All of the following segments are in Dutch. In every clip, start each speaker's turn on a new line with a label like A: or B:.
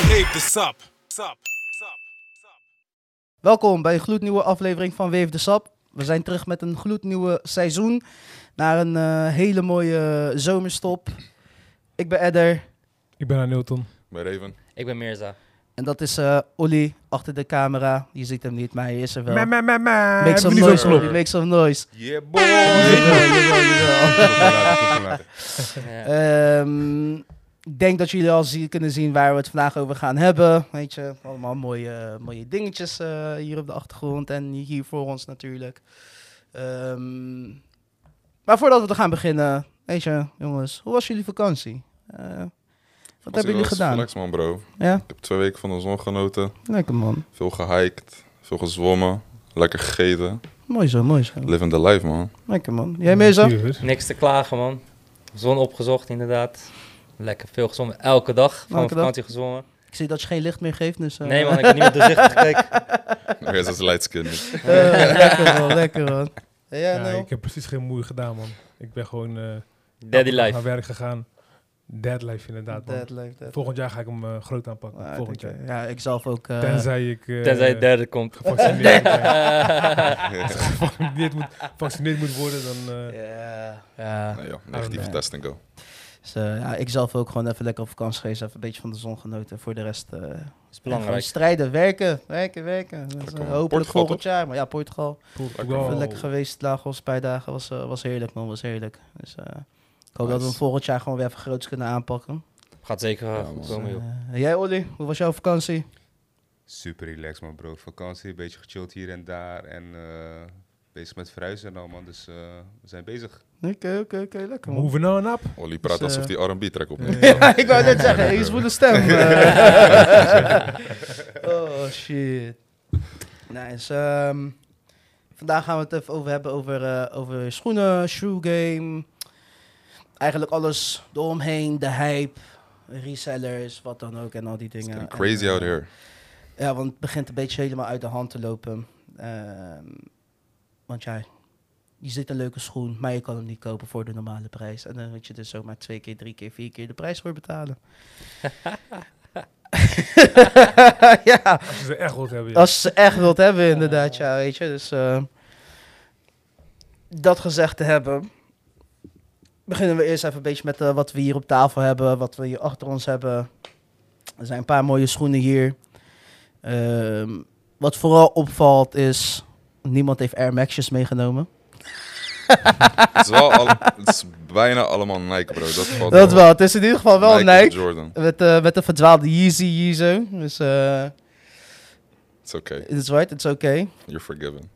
A: Sap, sap, sap, sap.
B: Welkom bij een gloednieuwe aflevering van Wave de Sap. We zijn terug met een gloednieuwe seizoen. Na een eh, hele mooie zomerstop. Ik ben Edder
C: Ik ben aan Newton.
D: Bij Raven.
E: Ik ben Mirza.
B: en dat is eh Olly achter de camera. Je ziet hem niet, maar hij is er wel.
C: me, me, me.
B: Make some
D: niet
B: noise,
D: zo
B: Olly. Make some noise.
D: Yeah, boy! Jawel, jawel, jawel. Komt wel later, komt wel later.
E: Ja.
B: Ehm, ik denk dat jullie al zie- kunnen zien waar we het vandaag over gaan hebben. Weet je, allemaal mooie, mooie dingetjes eh, hier op de achtergrond en hier voor ons natuurlijk. Ehm, maar voordat we te gaan beginnen, weet je, jongens, hoe was jullie vakantie? Eh, wat
D: Was
B: hebben jullie
D: wel
B: gedaan?
D: Flex, man, bro.
B: Ja,
D: Ik heb twee weken van de zon genoten.
B: lekker man.
D: Veel gehiked, veel gezwommen, lekker gegeten.
B: Mooi zo, mooi zo.
D: Living the life, man.
B: Lekker man. Jij mee zo?
E: Niks te klagen, man. Zon opgezocht, inderdaad. Lekker veel gezongen. Elke dag van mijn
B: Elke dag?
E: vakantie gezongen.
B: Ik zie dat je geen licht meer geeft, dus... eh,
E: Nee, man, ik heb niet meer doorzichtig gekeken.
D: Oké, dat is light skin. dus.
B: eh, lekker man, lekker man. Ja,
C: Ja,
B: nou.
C: ik heb precies geen moeite gedaan, man. Ik ben gewoon eh,
E: Daddy
C: naar
E: life.
C: werk gegaan. Dead life, inderdaad, man.
B: Dead life, dead
C: Volgend jaar ga ik hem eh, groot aanpakken.
B: life. Ah,
C: Volgend
B: oké.
C: jaar.
B: Ja, ik zelf ook... eh,
C: Tenzij ik... eh,
E: Tenzij het derde komt.
C: Gevaccineerd, ben.
D: Ja.
C: Gevaccineerd moet, gevaccineerd moet worden, dan... eh,
B: Ja.
E: Ja.
D: Nee, joh, negatieve
B: Oh,
C: nee.
D: test en go.
B: Dus, eh, ja, ik zelf ook gewoon even lekker op vakantie geweest. Even een beetje van de zon genoten. Voor de rest... eh,
E: is
B: gewoon
E: belangrijk.
B: strijden, werken, werken, werken. Dus, eh,
D: Lekker, man.
B: hopelijk
D: Portugal, Oh.
B: volgend jaar. Maar ja, Portugal.
C: Portugal.
B: Even lekker geweest. Lagos, een paar dagen. Was, eh, was heerlijk, man. Was heerlijk. Dus eh, ik hoop dat we
D: Nice.
B: hem volgend jaar gewoon weer even groots kunnen aanpakken.
E: Gaat zeker eh,
D: Ja,
E: goed
D: man.
E: komen, joh.
B: Eh, jij, Olly, hoe was jouw vakantie?
F: Super relaxed, man, bro. Vakantie, een beetje gechilled hier en daar. En eh, bezig met verhuizen en al, man. Dus eh, we zijn bezig.
B: Oké, oké, oké. Lekker, man.
C: Moving on up.
D: Olly praat
B: Dus, eh,
D: alsof die R&B-track opneemt.
B: ja, ik wou net zeggen, een zwoele stem. Eh, oh shit. Nice. ehm, vandaag gaan we het even over hebben over, eh, over schoenen, shoe game. Eigenlijk alles eromheen, de hype, resellers, wat dan ook en al die
D: It's
B: dingen. En,
D: getting crazy
B: eh,
D: out here.
B: Ja, want het begint een beetje helemaal uit de hand te lopen. Ehm, want ja, je ziet een leuke schoen, maar je kan hem niet kopen voor de normale prijs. En dan moet je dus zomaar twee keer, drie keer, vier keer de prijs voor betalen. ja,
C: Als je ze echt wilt hebben, ja.
B: als ze echt wilt hebben inderdaad, ja, weet je. Dus eh, dat gezegd te hebben, beginnen we eerst even een beetje met eh, wat we hier op tafel hebben, wat we hier achter ons hebben. Er zijn een paar mooie schoenen hier. Ehm, wat vooral opvalt is, niemand heeft Air Max'jes meegenomen.
D: Het is, wel al- het is bijna allemaal Nike, bro. Dat valt
B: Dat wel, het is in ieder geval wel
D: Nike of
B: Nike.
D: Jordan.
B: Met, eh, met de verdwaalde Yeezy Yeezo. Dus eh,
D: It's okay.
B: het is right, het is oké.
D: You're forgiven.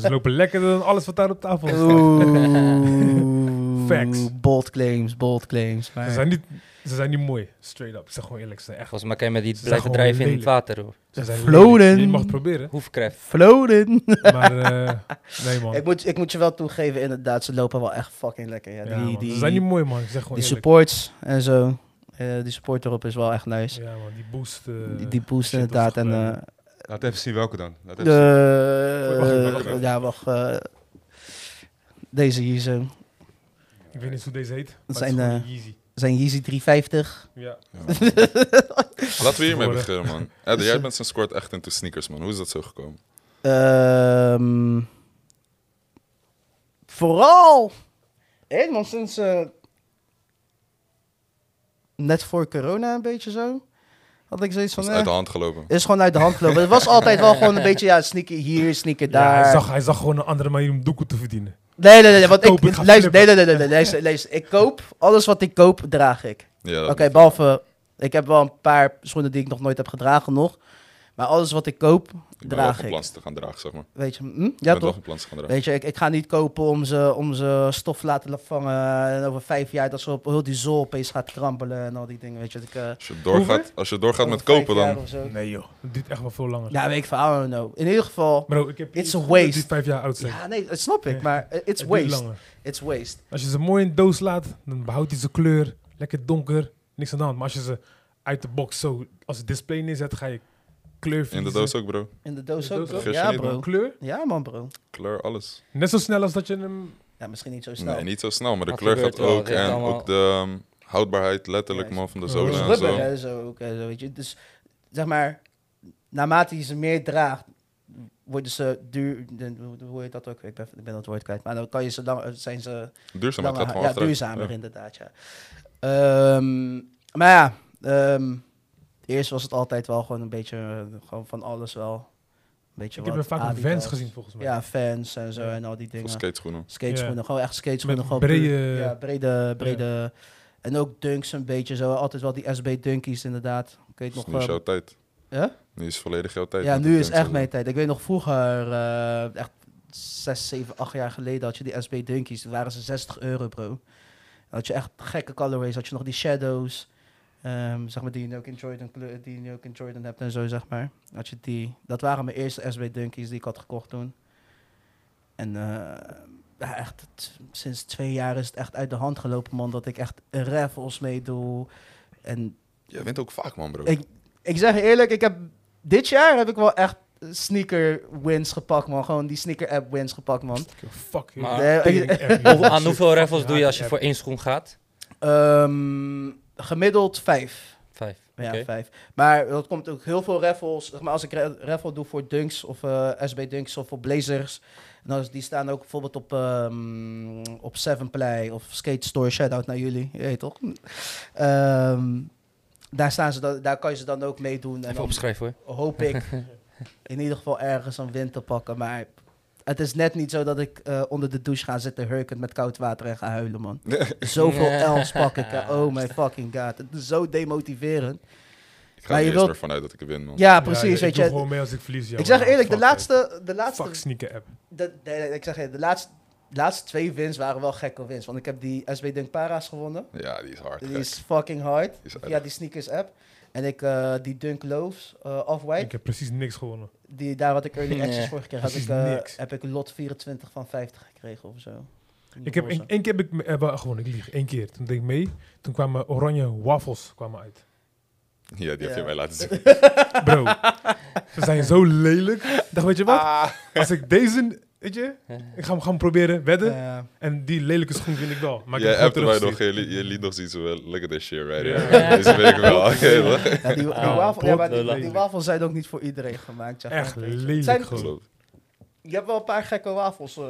C: Ze lopen lekkerder dan alles wat daar op tafel is.
B: Oeh.
C: Facts.
B: Bold claims, bold claims. Maar
C: Ze zijn, niet, ze zijn niet mooi, straight up. Ik zeg gewoon eerlijk, ze zijn echt...
E: Volgens mij kan je met die
C: Ze zijn
E: blijven
C: gewoon
E: drijven in het
C: lelijk.
E: water, hoor.
C: Ze zijn
B: Floden.
C: lelijk. Je mag het proberen,
E: Hoefkracht.
B: Floating.
C: maar eh, nee, man.
B: Ik moet, ik moet je wel toegeven, inderdaad, ze lopen wel echt fucking lekker. Ja,
C: Ja,
B: die,
C: man.
B: die,
C: Ze zijn niet mooi, man. Ik zeg gewoon
B: die
C: eerlijk.
B: supports en zo. eh, die support erop is wel echt nice.
C: Ja, man, die boost. eh,
B: die, die boost
C: shit was
B: inderdaad. En,
C: geweldig.
B: eh,
F: Laat even zien welke dan. Laat even zien.
B: de,
D: Wacht, wacht, wacht.
B: ja, wacht. eh, deze hier zo.
C: ik weet niet hoe deze heet. Dat
B: zijn,
C: zijn
B: eh, Zijn Yeezy 350.
C: Ja.
D: Ja. Laten we hiermee
C: Tegenwoordig.
D: beginnen, man. Ed, jij bent sinds kort echt into sneakers, man. Hoe is dat zo gekomen?
B: Ehm, vooral. Helemaal sinds. eh, net voor corona, een beetje zo. Had ik zoiets van.
D: Het is
B: eh,
D: uit de hand gelopen.
B: is gewoon uit de hand gelopen. Het was altijd wel gewoon een beetje, ja, sneaker hier, sneaker
C: Ja,
B: daar.
C: hij, zag, hij zag gewoon een andere manier om doekoe te verdienen.
B: nee, nee, nee, want
C: Koop, ik
B: ik,
C: ga
B: luister, nee, nee,
C: flippen.
B: nee, nee, nee, luister, luister. Ik koop, alles wat ik koop, draag ik.
D: Ja,
B: Oké, behalve, ik heb wel een paar schoenen die ik nog nooit heb gedragen nog. Maar alles wat ik koop,
D: ik ben wel
B: draag
D: van
B: ik.
D: plans te gaan dragen, zeg maar.
B: Weet je, hm?
D: Ja,
B: ja
D: ik ben wel
B: toch?
D: van plans te gaan dragen.
B: Weet je, ik, ik ga niet kopen om ze, om ze stof te laten vangen. En over vijf jaar dat ze op heel die zool opeens gaat krampelen en al die dingen. Weet je, dat ik, eh,
D: Als je doorgaat, als je doorgaat met
B: over vijf
D: kopen,
B: jaar
D: dan...
B: of zo-
C: Nee, joh. Dat duurt echt wel veel langer.
B: Ja, weet ik van, I don't know. In ieder geval,
C: Bro, ik heb
B: It's
C: iets
B: a
C: gehoord
B: waste.
C: die vijf jaar oud zijn.
B: ja, nee, dat snap ik,
C: Ja.
B: maar eh, it's
C: Het duurt
B: waste.
C: langer.
B: It's waste.
C: Als je ze mooi in de doos laat, dan behoudt hij zijn kleur. Lekker donker, niks aan de hand. Maar als je ze uit de box zo als het display neerzet, ga je kleur
D: In de
C: verliezen.
D: doos ook, bro.
B: In de doos
C: De
B: ook,
C: doos
B: bro.
D: ook?
B: Ja,
D: Vergeet je
B: bro.
C: Kleur,
B: Ja, man, bro.
D: Kleur, alles.
C: net zo snel als dat je hem...
B: Ja, misschien niet zo snel.
D: Nee, niet zo snel, maar de
E: Dat
D: kleur
E: gebeurt
D: gaat
E: wel,
D: ook.
E: dit
D: En
E: allemaal.
D: ook de ehm, houdbaarheid letterlijk,
B: Ja,
D: man, van de
C: is
D: zolen
B: Dus
D: en
B: rubber
D: zo.
B: hè, zo ook. hè, zo, weet je. Dus zeg maar, naarmate je ze meer draagt, worden ze duur. dan- Hoe hoe heet dat ook? Ik ben, ik ben dat woord kwijt. Maar dan kan je ze lang, zijn ze
D: Duurzaamheid gaat
B: langer-
D: gewoon
B: ja,
D: achteruit.
B: duurzamer
D: Ja.
B: inderdaad, ja. Ehm, maar ja, ehm, eerst was het altijd wel gewoon een beetje eh, gewoon van alles wel. Een beetje
C: Ik heb
B: wat
C: er vaak op
B: Adidas.
C: fans gezien, volgens mij.
B: Ja, fans en zo
C: Ja.
B: en al die
D: Van
B: dingen.
D: skateschoenen.
B: Skateschoenen,
C: Ja.
B: gewoon echt skateschoenen.
C: Met
B: gewoon puur-
C: brede-
B: Ja, brede, brede. En ook dunks een beetje zo. Altijd wel die SB dunkies inderdaad. Ik weet
D: Dat is
B: nog...
D: nu is
B: eh,
D: jouw tijd.
B: Ja?
D: Nu is volledig jouw tijd.
B: ja,
D: met
B: nu
D: die
B: is
D: dunks
B: echt
D: en
B: mijn tijd. Ik weet nog vroeger, eh, echt 6, 7, 8 jaar geleden, had je die SB Dunkies. Toen waren ze 60 euro, bro. Dan had je echt gekke colorways. Had je nog die shadows, ehm, zeg maar, die je nu ook in Jordan, kleur- die je nu ook in Jordan hebt en zo, zeg maar. Had je die. Dat waren mijn eerste SB Dunkies die ik had gekocht toen. En eh, ja, echt, t- sinds twee jaar is het echt uit de hand gelopen, man. Dat ik echt raffles meedoe. En
D: zo. Jij wint ook vaak, man, bro.
B: Ik- ik zeg je eerlijk, ik heb dit jaar heb ik wel echt sneaker wins gepakt, man. Gewoon die sneaker app wins gepakt, man.
C: Fuck,
E: Maar-
C: joh. Tering app, joh.
E: Hoe- aan hoeveel raffles doe je als je
C: Ja,
E: voor één schoen gaat?
B: Ehm, gemiddeld vijf.
E: Vijf.
B: Ja,
E: oké.
B: vijf. Maar dat komt ook heel veel raffles. Zeg maar als ik ra- raffle doe voor dunks of eh, SB dunks of voor blazers. En dan is- die staan ook bijvoorbeeld op, ehm, op Seven Play of Skate Store. Shout-out naar jullie, je weet toch? Ehm, daar, staan ze dan, daar kan je ze dan ook meedoen. En
E: Even
B: dan-
E: opschrijven hoor.
B: hoop ik in ieder geval ergens een wind te pakken. Maar het is net niet zo dat ik eh, onder de douche ga zitten hurkend met koud water en ga huilen, man. Zoveel L's pak ik. eh, Oh my fucking god. Het is zo demotiverend.
D: Ik
B: maar
D: ga
B: je
D: er eerst
B: wilt-
D: maar vanuit dat ik win, man.
B: Ja,
C: Ja,
B: precies,
C: ja,
B: weet
C: Ik doe
B: je.
C: gewoon mee als ik verlies, ja,
B: Ik zeg
C: man.
B: eerlijk, de
C: Fuck, hè.
B: laatste, de laatste
C: Fuck sneaker app.
B: de, nee, nee, ik zeg je, de laatste, laatste twee wins waren wel gekke wins. Want ik heb die SB Dunk Para's gewonnen.
D: Ja, die is hard.
B: Die
D: gek.
B: is fucking hard.
D: Die is
B: Ja,
D: erg.
B: die sneakers app. En ik, eh, die Dunk Loaves, eh
C: Ik
B: Off-White.
C: heb precies niks gewonnen.
B: Die, daar had ik early access
E: Nee,
B: vorige keer. Had ik,
C: precies
B: eh,
C: niks.
B: heb ik lot 24 van 50 gekregen of zo.
C: Ik heb één één keer heb ik me- eh, wel, gewoon, ik lieg. Eén keer. Toen deed ik mee. Toen kwamen oranje wafels kwamen uit.
D: Ja, die heb je
B: Ja.
D: mij laten zien.
C: Bro, ze zijn zo lelijk. Ik dacht, weet je wat?
E: Ah.
C: Als ik deze, weet je, ik ga hem gewoon proberen wedden.
B: Ja.
C: En die lelijke schoen vind ik wel. Maar ik
D: Jij
C: heb
D: hebt
C: hem
D: mij
C: gewoon
D: nog,
C: teruggestuurd.
D: je, li- je liet nog zoiets wel. Look at this shit right
C: Ja.
D: here. Deze weet ik wel. Oké, hoor.
B: Ja, die, die,
E: Ah,
B: wafel, ja, maar die,
E: potlelijk.
B: die wafels zijn ook niet voor iedereen gemaakt. zeg maar.
C: Echt
B: Weet je.
C: lelijk
B: Zijn-
C: gewoon.
D: Klopt.
B: Je hebt wel een paar gekke wafels. eh,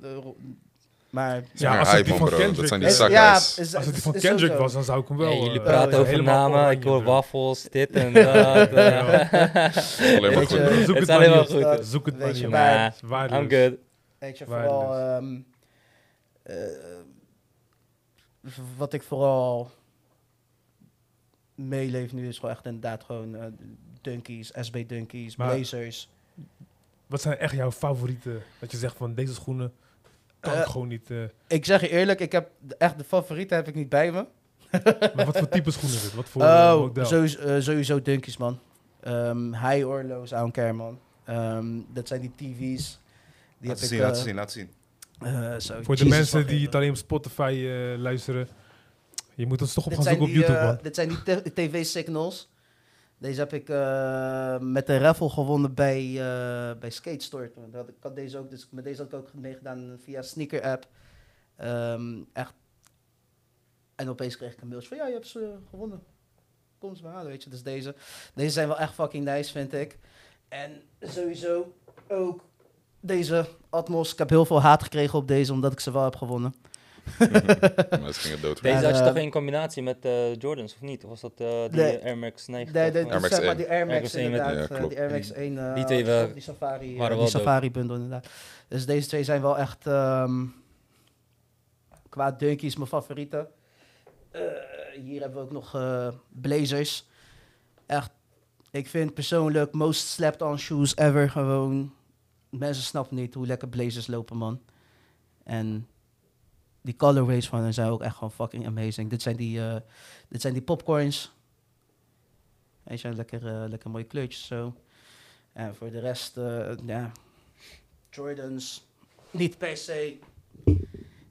B: de ro- maar...
C: Ja,
D: Ja,
C: als het
D: hype,
C: die van
D: man, bro. Dat
C: Kendrick
D: zijn die
C: is-
D: zakken.
B: ja,
D: is-
B: is-
C: Als het
B: is-
C: die van
B: is ook
C: Kendrick
B: zo.
C: was, dan zou ik hem wel...
E: Hey, jullie
C: eh,
E: praten over
C: helemaal
E: namen,
C: oranje,
E: ik hoor
C: bro.
E: wafels, dit en dat. eh.
D: Alleen maar
B: Weet
D: goed.
B: je-
D: bro.
C: Zoek
E: Het
C: het
E: is alleen
C: maar
E: maar
C: niet
E: goed.
B: Dat-
E: hè.
C: op. Zoek het
B: Weet
C: maar
B: je,
C: niet op.
B: maar-
C: Het is waardeloos.
E: I'm good.
B: Weet je,
C: Waardeloos.
B: vooral... ehm, eh, wat ik vooral meeleef nu is gewoon echt inderdaad gewoon eh, dunkies, SB dunkies,
C: Maar-
B: blazers.
C: Wat zijn echt jouw favorieten? Dat je zegt van deze schoenen kan ik
B: Eh,
C: gewoon niet. eh.
B: Ik zeg je eerlijk, ik heb de- echt de favorieten heb ik niet bij me.
C: maar wat voor type schoenen is het? Wat voor eh,
B: Oh,
C: model?
B: sowieso, eh, sowieso dunkies, man. Ehm, high Orlo's, I don't care, man. Ehm, dat zijn die TV's. Die
F: Laat
B: heb
F: zien,
B: ik,
F: laat
B: eh,
F: zien, laat zien.
B: eh, zo,
C: voor de
B: Jesus
C: mensen die
B: fucking
C: het alleen op Spotify eh, luisteren. Je moet ons toch op
B: Dit
C: gaan
B: zijn
C: zoeken op
B: die,
C: YouTube,
B: eh,
C: man.
B: Dit zijn die t- tv-signals. Deze heb ik eh, met de raffle gewonnen bij, eh, bij Skate Store. toen. Dat, ik had deze ook, dus met deze had ik ook meegedaan via sneaker app. Ehm, echt. En opeens kreeg ik een mailtje van, ja, je hebt ze gewonnen. Kom ze maar halen, weet je. Dus deze. Deze zijn wel echt fucking nice, vind ik. En sowieso ook deze Atmos. Ik heb heel veel haat gekregen op deze, omdat ik ze wel heb gewonnen.
D: Maar ze gingen dood.
E: Deze
B: Maar,
E: had je
B: eh,
E: toch in combinatie met eh, Jordans, of niet? Of was dat eh die
B: Nee.
E: eh, Air Max 9?
B: Nee, de,
D: Air
B: dus
D: Max
B: zeg maar
D: 1.
B: die Air
E: Air
B: Max
E: Max 1 met-
B: inderdaad.
D: Ja,
B: eh,
D: klopt.
B: die Air Max 1, eh,
E: Die twee waren-
B: die safari, eh,
E: waren wel
B: die
E: dope.
B: safari bundle inderdaad. Dus deze twee zijn wel echt ehm, qua dunkies mijn favorieten. Eh, hier hebben we ook nog eh, Blazers. Echt, ik vind persoonlijk most slept on shoes ever gewoon. Mensen snappen niet hoe lekker Blazers lopen man. En die colorways van hen zijn ook echt gewoon fucking amazing. Dit zijn die, eh, dit zijn die popcorns. Weet je, lekker, eh, lekker mooie kleurtjes zo. En voor de rest, eh, ja, Jordans. Niet per se.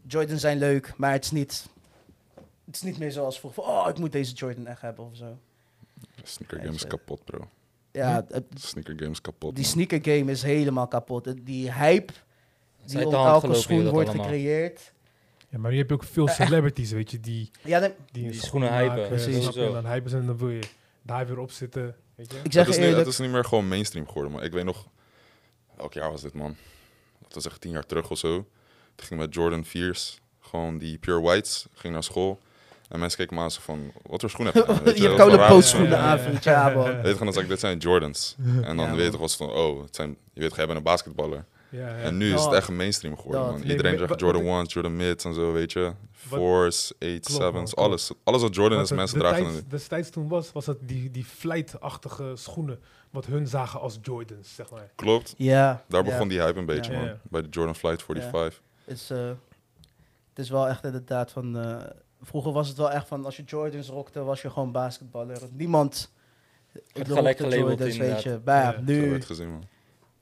B: Jordans zijn leuk, maar het is niet, het is niet meer zoals vroeger. van, Oh, ik moet deze Jordan echt hebben of zo.
D: Sneaker game is kapot, bro.
B: Ja, het-
D: Sneaker game is kapot.
B: die
D: man.
B: sneaker game is helemaal kapot. Het- Die hype
E: Het is
B: die
E: uit
B: om
E: de hand
B: elke
E: gelopen, joh,
B: schoen
E: dat
B: wordt
E: allemaal.
B: gecreëerd.
C: Ja, maar nu heb je ook veel celebrities, weet je, die,
B: Ja, nee,
C: die, een
E: Die
C: schoen
E: schoenen hypen,
C: maken,
B: precies.
C: snap je?
E: Zo.
C: En dan hypen ze en dan wil je daar weer op zitten, weet je.
B: ik zeg
D: Het
B: je
D: is, nu,
B: eerlijk.
D: het is niet meer gewoon mainstream geworden, maar ik weet nog... Elk jaar was dit, man. Dat was echt tien jaar terug of zo. Toen ging ik met Jordan 4's, gewoon die Pure Whites, ging naar school. En mensen keken me aan zo van, wat voor schoenen heb je aan? Weet
B: je
D: wel,
B: hebt
D: wat
B: koude
D: voor raar-
B: pootschoenen aan, vriend. Ja, man.
D: Weet je, gewoon, dan zeg ik, dit zijn Jordans. En dan
B: Ja,
D: weet je
B: man.
D: toch wel van, oh, het zijn, je weet, jij bent een basketballer.
C: Ja, ja.
D: En nu is het
B: Dat.
D: echt mainstream geworden,
B: Dat.
D: man.
C: Nee,
D: Iedereen
C: maar-
D: zegt
C: wat-
D: Jordan 1's, Jordan Mids en zo, weet je. Fours, 8's,
C: Klopt, man,
D: 7's,
C: klopt.
D: alles. Alles wat Jordan
C: Want
D: is,
C: de-
D: mensen
C: de
D: dragen
C: tijds-
D: het.
C: Destijds toen was, was dat die, die flight-achtige schoenen, wat hun zagen als Jordans, zeg maar.
D: Klopt,
B: Ja.
D: daar
B: ja.
D: begon die hype een beetje,
C: Ja.
D: man.
C: Ja.
D: Bij de Jordan Flight 45.
B: Het is, eh, het is wel echt inderdaad van... eh, vroeger was het wel echt van, als je Jordans rokte, was je gewoon basketballer. Niemand
E: Werd
B: rokte
E: gelijk gelabeld,
B: Jordans, weet
E: inderdaad.
B: je. Maar ja,
C: Ja.
D: Zo
B: nu
D: werd gezien, man.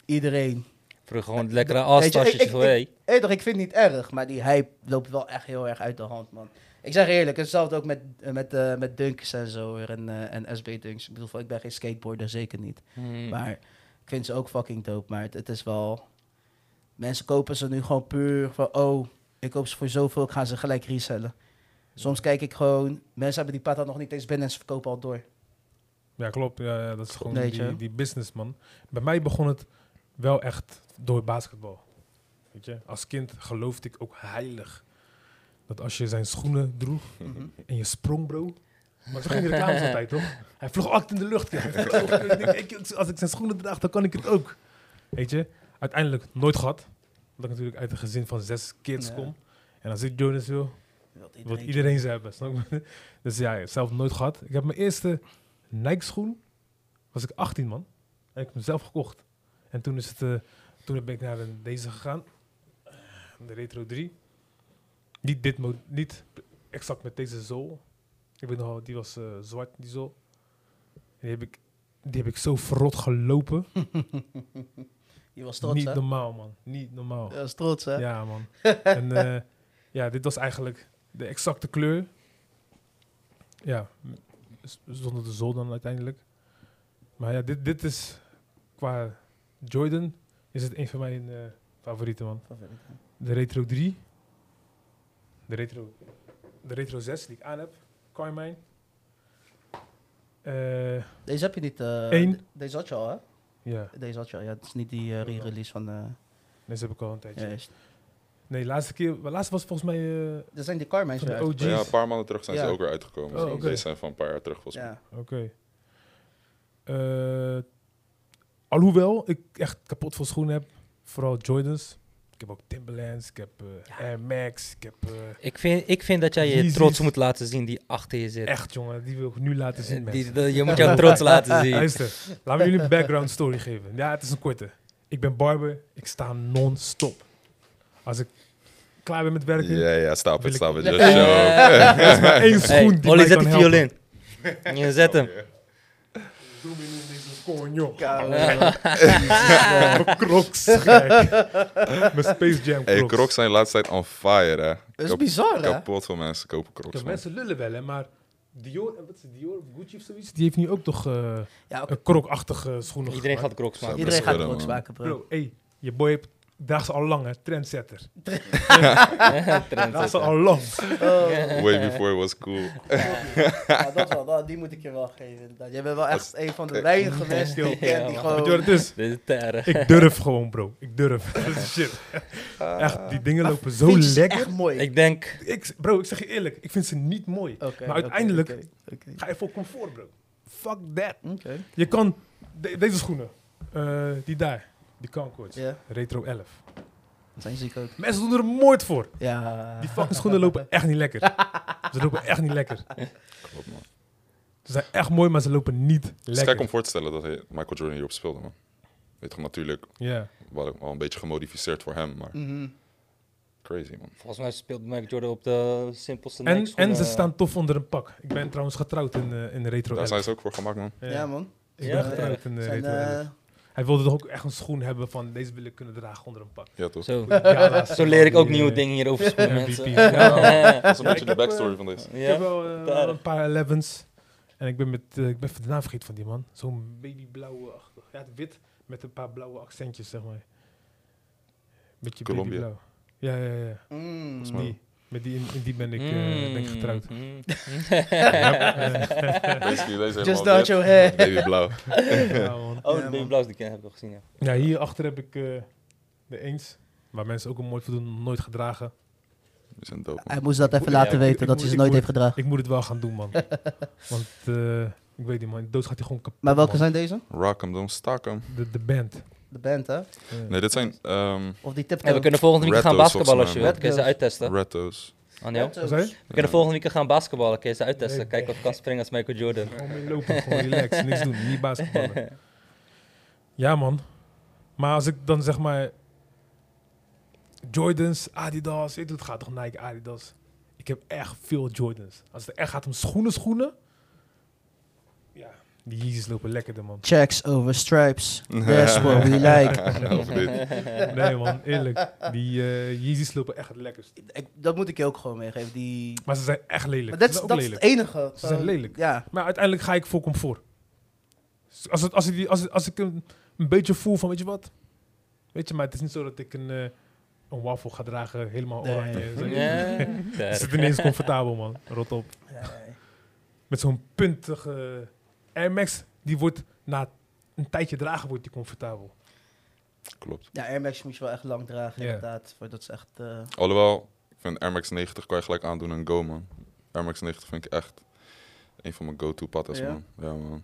B: iedereen.
E: Vroeger gewoon lekkere
B: Weet je, ik-
E: astasjes.
B: ik-
E: van, hey.
B: Hé, toch, ik vind het niet erg, maar die hype loopt wel echt heel erg uit de hand, man. Ik zeg eerlijk, hetzelfde ook met, eh, met, eh, met dunks en zo weer en, eh, en SB-dunks. Ik bedoel, van, ik ben geen skateboarder, zeker niet.
D: Hm.
E: Hmm.
B: Maar ik vind ze ook fucking dope. Maar het, het is wel... Mensen kopen ze nu gewoon puur van... Oh, ik koop ze voor zoveel, ik ga ze gelijk resellen. Soms kijk ik gewoon... Mensen hebben die pata nog niet eens binnen en ze verkopen al door.
C: Ja, klopt. Ja, ja, dat is gewoon
B: Weet je.
C: die, die business, man. Bij mij begon het wel echt door basketbal. Weet je, als kind geloofde ik ook heilig dat als je zijn schoenen droeg
B: Mhm.
C: en je sprong, bro. Maar zo ging de reclames altijd, toch? Hij vloog altijd in de lucht. ja. Hij vloog altijd in de lucht. Ik denk, ik- Als ik zijn schoenen draag, dan kan ik het ook. Weet je, uiteindelijk nooit gehad. Omdat ik natuurlijk uit een gezin van zes kids
B: Ja.
C: kom. En als ik Jonas wil,
B: Wilt
C: wat
B: iedereen-
C: iedereen ze hebben, snap je? Dus ja, ja, zelf nooit gehad. Ik heb mijn eerste Nike-schoen, was ik 18 man, en ik heb hem zelf gekocht. En toen, is het, eh, toen ben ik naar een, deze gegaan, Eh, de Retro 3. Niet, dit mo- niet exact met deze zool. Ik weet nog wel, die was eh, zwart, die zool. En die heb ik, die heb ik zo verrot gelopen.
B: Je was trots,
C: niet
B: hè?
C: normaal man, niet normaal.
B: Je was trots, hè?
C: Ja, man. en eh, ja, dit was eigenlijk de exacte kleur. Ja, m- z- zonder de zon dan uiteindelijk. Maar ja, dit, dit is qua Jordan is het een van mijn eh, favorieten, man. De Retro 3. De Retro, de Retro 6 die ik aan heb. Carmine. Eh,
B: Deze heb je niet... eh,
C: Eén.
B: de- Deze had je al, hè?
C: ja,
B: Deze had je al, ja. Het is niet die eh, re-release van... eh
C: deze heb ik al een tijdje.
B: ja, juist.
C: Nee, laatste keer, laatste was volgens mij eh,
B: Dat zijn die Carmines
C: van
B: weer
C: de
B: uit.
C: OG's.
D: Maar ja, een paar maanden terug zijn
B: Ja.
D: ze ook weer uitgekomen.
C: Oh,
D: Dus
C: oké.
D: Deze zijn van een paar jaar terug, volgens mij.
B: Ja.
C: Oké. Eh, alhoewel ik echt kapot veel schoenen heb, vooral Jordans. Ik heb ook Timberlands, ik heb eh, Air Max, ik heb... eh,
E: Ik, vind, ik vind dat jij je
C: Yeezys.
E: trots moet laten zien die achter je zit.
C: echt jongen, die wil ik nu laten zien
E: Eh,
C: mensen.
E: die, dat- je moet jouw trots laten zien.
C: Luister, laat me jullie een background story geven. Ja, het is een korte. Ik ben barber, ik sta non-stop. Als ik klaar ben met werken,
D: Ja, ja, stap
C: Wil
D: het,
C: ik-
D: stap het.
E: Eh,
D: Just joke.
C: dat is maar één schoen
E: hey,
C: die
E: Olly,
C: mij
E: zet
C: kan
E: die
C: helpen.
E: violin. Je zet hem.
C: Doe me niet deze koorn, joh.
B: Ja.
C: Mijn Crocs, gek. Mijn Space Jam
D: Hey,
C: Crocs.
D: Crocs zijn de laatste tijd on fire, hè.
B: Dat is
D: Kap-
B: bizar, hè?
D: Kapot veel mensen kopen
C: Kijk,
D: Crocs, man.
C: mensen lullen wel, hè, maar Dior, eh, wat is het, Dior of Gucci of zoiets, die heeft nu ook toch eh
B: Ja, oké.
C: een krokachtige schoenen
E: Iedereen gaat
C: gemaakt.
E: crocs maken.
D: Best
B: Iedereen gaat
D: wel,
B: Crocs
D: man.
B: maken, bro.
C: Bro, hey, je boy heeft, draagt ze al lang, hè, trendsetter. Draagt ze
E: Trendsetter.
C: al lang.
B: Oh.
D: Way before it was cool.
B: Ja, dat wel, dat- die moet ik je wel geven. Inderdaad. Jij bent wel echt een van de weinige mensen die ik ken die
E: Ja,
C: Weet je wat
B: gewoon...
C: het is?
E: Dit is terre.
C: Ik durf gewoon, bro. Ik durf. Dat is shit. Echt, die dingen lopen zo
B: Ah. Vind je ze
C: lekker.
B: echt Oh. mooi.
E: Ik denk,
C: Ik, bro, ik zeg je eerlijk, ik vind ze niet mooi.
B: Oké,
C: maar
B: oké,
C: uiteindelijk
B: oké, oké.
C: ga je voor comfort, bro. Fuck that.
B: Oké.
C: Je kan, de- deze schoenen, eh, die daar, die Concords,
B: Ja,
C: Retro 11.
B: dat zijn ziek ook.
C: Mensen doen er moord voor.
B: Ja.
C: Die fucking schoenen lopen echt niet lekker. Ze lopen echt niet lekker.
D: Klopt, man.
C: Ze zijn echt mooi, maar ze lopen niet
D: Het is gek om
C: lekker.
D: voor te stellen dat hij Michael Jordan hierop speelde, man. Weet toch, natuurlijk
C: Ja.
D: wel wel een beetje gemodificeerd voor hem, maar
B: Mhm.
D: crazy, man.
E: volgens mij speelt Michael Jordan op de simpelste
C: En,
E: Nike-schoenen.
C: en ze staan tof onder een pak. Ik ben trouwens getrouwd in, eh, in Retro
D: Daar
C: 11.
D: zijn ze ook voor gemaakt, man.
C: Ja.
B: Ja, man.
C: Ik
E: Ja,
C: ben getrouwd in eh,
B: Zijn,
C: Retro
B: eh,
C: 11. Hij wilde toch ook echt een schoen hebben van deze wil ik kunnen dragen onder een pak.
D: Ja, toch?
E: Zo,
B: Eh,
C: Gala's,
E: zo leer ik ook
C: die,
E: nieuwe
C: eh,
E: dingen hier over schoenen,
C: MVP.
E: mensen.
C: Ja.
D: Dat is een beetje
C: ik
D: de
C: heb,
D: backstory
C: eh,
D: van deze.
C: Ik heb
E: Ja.
C: wel eh,
E: daar.
C: een paar 11's. En ik ben, met, eh, ik ben even de naam vergeten van die man. Zo'n babyblauwe, achtig. ja, het wit met een paar blauwe accentjes, zeg maar. Beetje
D: Colombia.
C: babyblauw. Ja, ja, ja.
B: mm.
D: Volgens mij.
C: Die. Met die, in, in die ben ik, eh, ben ik getrouwd.
E: Mm, mm.
D: Basically, deze
B: Just
D: is helemaal
B: not
D: wit,
B: your hair.
D: Baby blauw.
C: ja, man.
B: Ja,
E: Oh, de baby
B: man.
E: blauws, die ken, heb ik al gezien, ja.
C: Ja, hierachter heb ik eh, de eens. Waar mensen ook een mooi voor doen, nooit gedragen.
D: We zijn dope, man.
B: Hij moest dat even
C: Ja,
B: laten
C: ik-
B: weten
C: ik
B: dat
C: moet-
B: hij ze
C: ik
B: nooit
C: moet-
B: heeft gedragen.
C: Ik moet het wel gaan doen, man. Want eh, ik weet niet, man. Dood gaat hij gewoon kapot.
B: Maar welke
C: man.
B: zijn deze?
D: Rock 'em, don't stock 'em.
C: De, de band.
B: De band, hè?
D: Nee, dit zijn ehm
B: Of die
E: En
B: tiptoe?
E: we kunnen volgende week
D: Red
E: gaan
D: Doors,
E: basketballen als
D: volgens
E: je
D: mij,
E: wilt.
B: man.
E: Kun je ze uittesten.
D: Retto's.
E: Anil.
C: Wat zei je?
E: We kunnen volgende week gaan basketballen. Kun je ze uittesten.
C: Nee,
E: Kijken of ik kan springen als Michael Jordan.
C: Gewoon mee lopen, gewoon relax. Niks doen, niet basketballen. Ja, man. Maar als ik dan zeg maar... Jordans, Adidas. Ik doe het gaat toch Nike, Adidas. Ik heb echt veel Jordans. Als het echt gaat om schoenen, schoenen... Ja, die Yeezys lopen lekkerder, man.
B: Checks over stripes. That's what we like.
D: of dit.
C: Nee, man, eerlijk. Die eh Yeezys lopen echt het lekkerst.
B: Ik- dat moet ik je ook gewoon meegeven. Die...
C: Maar ze zijn echt lelijk.
B: Maar
C: Ze
B: dat is,
C: zijn ook
B: dat is
C: lelijk.
B: het enige.
C: Ze zijn
B: Gewoon,
C: lelijk.
B: Ja.
C: Maar uiteindelijk ga ik voor comfort. Dus Als, het, als, ik, die- als, het- als ik een, een beetje voel van, weet je wat? Weet je, maar het is niet zo dat ik een, eh een wafel ga dragen, helemaal
B: Nee.
C: oranje. Zo-
E: Ja,
C: Het zit
E: daar.
C: ineens comfortabel, man. Rot op. Met zo'n puntige Air Max, die wordt na een tijdje dragen, wordt die comfortabel.
D: Klopt.
B: ja, Air Max moet je wel echt lang dragen,
C: Ja.
B: inderdaad. Voordat ze echt... eh,
D: Alhoewel, ik vind Air Max 90 kan je gelijk aandoen en go, man. Air Max 90 vind ik echt een van mijn go-to patas,
B: Ja?
D: man. Ja, man.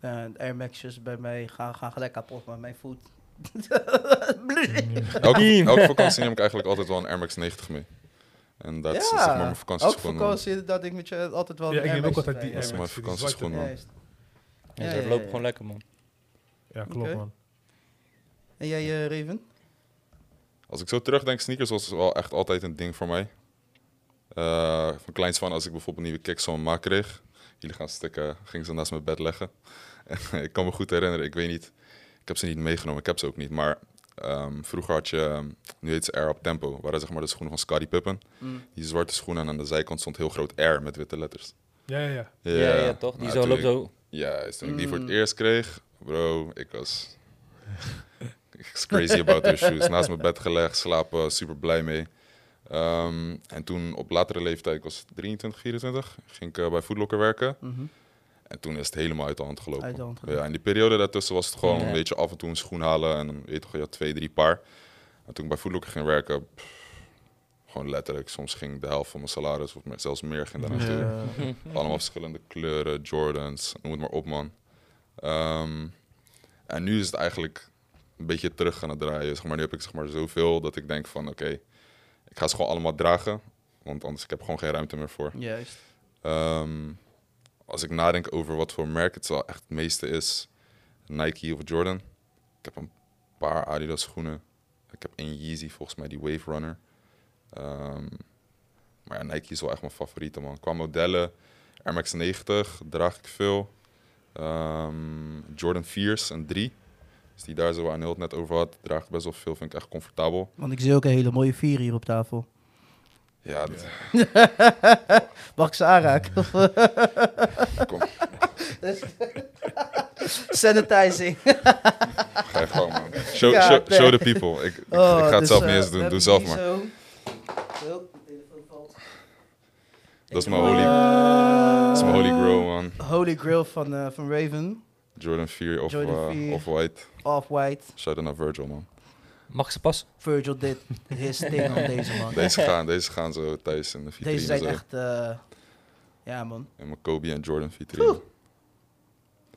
B: ja, de Air Max'jes bij mij gaan, gaan gelijk kapot, maar mijn voet...
D: Elke, elke vakantie neem ik eigenlijk altijd wel een Air Max 90 mee. En dat is
B: Ja,
D: zeg maar mijn
B: Ook
D: vakantieschoen.
B: voor
D: man.
B: vakantie dat ik met je altijd wel...
C: ja,
B: een
C: ik
B: Air
C: neem ook
B: Max
C: altijd die
B: erbij,
C: Air Max.
B: ja.
D: mijn
C: die
D: vakantieschoen,
C: zwarte.
D: man.
B: Juist.
E: Ja,
B: Ja,
E: dat
B: ja,
E: loopt
B: ja.
E: gewoon lekker, man.
C: Ja, klopt,
B: Oké.
C: man.
B: En jij, eh, Raven?
D: Als ik zo terugdenk, sneakers was wel echt altijd een ding voor mij. Eh, van kleins van, als ik bijvoorbeeld nieuwe kicks van mijn ma kreeg, jullie gaan stikken, ging ze naast mijn bed leggen. ik kan me goed herinneren, ik weet niet, ik heb ze niet meegenomen, ik heb ze ook niet, maar ehm, vroeger had je, ehm, nu heet ze Air Up Tempo, waren zeg maar de schoenen van Scottie Pippen.
B: Mm.
D: Die zwarte schoenen en aan de zijkant stond heel groot Air met witte letters.
C: Ja, ja, ja.
E: Ja, ja, toch? Die
D: maar
E: zo
D: toen
E: loopt
D: ik-
E: zo.
D: Juist, toen ik die voor het
B: Mm.
D: eerst kreeg, bro, ik was. ik was crazy about those shoes. Naast mijn bed gelegd, slapen, super blij mee. Ehm, en toen op latere leeftijd, ik was 23, 24, ging ik eh, bij Foodlocker werken.
B: Mhm.
D: En toen is het helemaal uit de hand gelopen.
B: Uit de hand
D: Ja, en die periode daartussen was het gewoon
E: Ja.
D: een beetje af en toe een schoen halen en dan weet je toch, je had twee, drie paar. En toen ik bij Foodlocker ging werken, pff, gewoon letterlijk, soms ging de helft van mijn salaris of me- zelfs meer ging daar naartoe. Allemaal verschillende kleuren, Jordans, noem het maar op, man. Ehm, en nu is het eigenlijk een beetje terug aan het draaien. Zeg maar, nu heb ik zeg maar, zoveel dat ik denk van, oké, ik ga ze gewoon allemaal dragen. Want anders ik heb gewoon geen ruimte meer voor.
B: Juist.
D: Ehm, als ik nadenk over wat voor merk het wel echt het meeste is, Nike of Jordan. Ik heb een paar Adidas schoenen. Ik heb één Yeezy, volgens mij die Wave Runner. Ehm, maar ja, Nike is wel echt mijn favoriete man. Qua modellen, Air Max 90 draag ik veel. Ehm, Jordan 4's en 3. Dus die daar zo waar Anil het net over had, draag ik best wel veel. Vind ik echt comfortabel.
B: Want ik zie ook een hele mooie vier hier op tafel.
D: Ja, dat-
B: Mag ik ze aanraken?
D: Kom.
B: Sanitizing.
D: Ga je gang, man. Show,
B: Ja,
D: show,
B: nee.
D: show the people. Ik, ik, ik
B: Oh,
D: ga het
B: dus,
D: zelf
B: eh,
D: niet eens
B: we
D: doen. Doe
B: hebben
D: zelf
B: die
D: maar.
B: Zo. Zo, de telefoon valt.
D: Dat is mijn holy, dat is mijn holy grail, man.
B: Holy Grail van, eh, van Raven.
D: Jordan 4 of,
B: Jordan
D: eh,
B: 4.
D: of White.
B: Off-White.
D: Shout out naar Virgil, man.
E: Mag ik ze passen?
B: Virgil did his thing op deze man.
D: Deze gaan, deze gaan zo thuis in de vitrine.
B: Deze zijn
D: zo.
B: echt... eh, ja man,
D: In mijn Kobe en Jordan vitrine.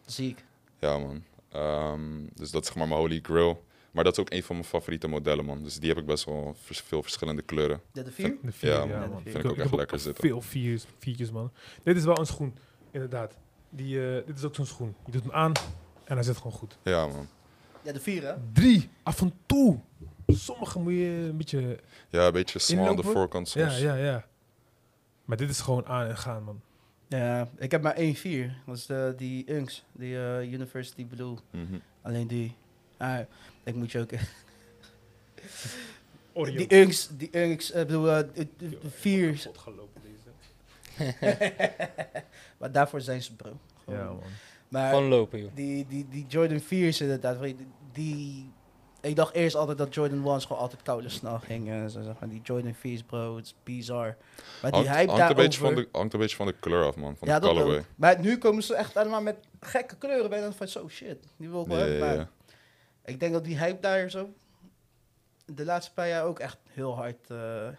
B: ziek.
D: Ja, man. Ehm, dus dat is zeg maar mijn holy grail. Maar dat is ook een van mijn favoriete modellen, man. Dus die heb ik best wel vers- veel verschillende kleuren.
B: Dit de vier?
C: De vier,
D: Ja,
C: ja,
D: man.
C: man.
B: Vind ik
D: ook echt
C: heb
D: lekker zitten.
C: Veel viers, viertjes, man. Dit is wel een schoen, inderdaad. Die, eh, dit is ook zo'n schoen. Je doet hem aan en hij zit gewoon goed.
D: Ja, man.
B: Ja, de vier hè?
C: Drie, af en toe. Sommige moet je een beetje...
D: Ja, een beetje smal aan de
C: Inlopen?
D: voorkant
C: Ja,
D: soms.
C: ja, ja. Maar dit is gewoon aan en gaan, man.
B: Ja, ik heb maar één vier. Dat is de, die Unks, die eh, University Blue.
D: Mhm.
B: Alleen die. Ah, ik moet je ook
C: Oreo.
B: Die Unks, die Unks, ik bedoel, eh, de- de- de vier.
C: Godgelopen deze.
B: Maar daarvoor zijn ze bro. Gewoon.
C: Ja, man.
B: maar
E: Gewoon lopen, joh.
B: die, die, die Jordan 4's inderdaad, weet je, die Ik dacht eerst altijd dat Jordan 1's gewoon altijd koude snel gingen. Zo, zeg maar, die Jordan 4's, bro, het is bizar. Maar die
D: Hangt,
B: hype
D: hangt een
B: daarover...
D: beetje van de, hangt een beetje van de kleur af, man. Van de
B: dat
D: colorway.
B: ook. Maar nu komen ze echt allemaal met gekke kleuren bij. Dan van, zo shit, die wil ik wel
D: Ja,
B: hebben.
D: ja,
B: Maar
D: ja.
B: ik denk dat die hype daar zo de laatste paar jaar ook echt heel hard... eh,
D: Ja,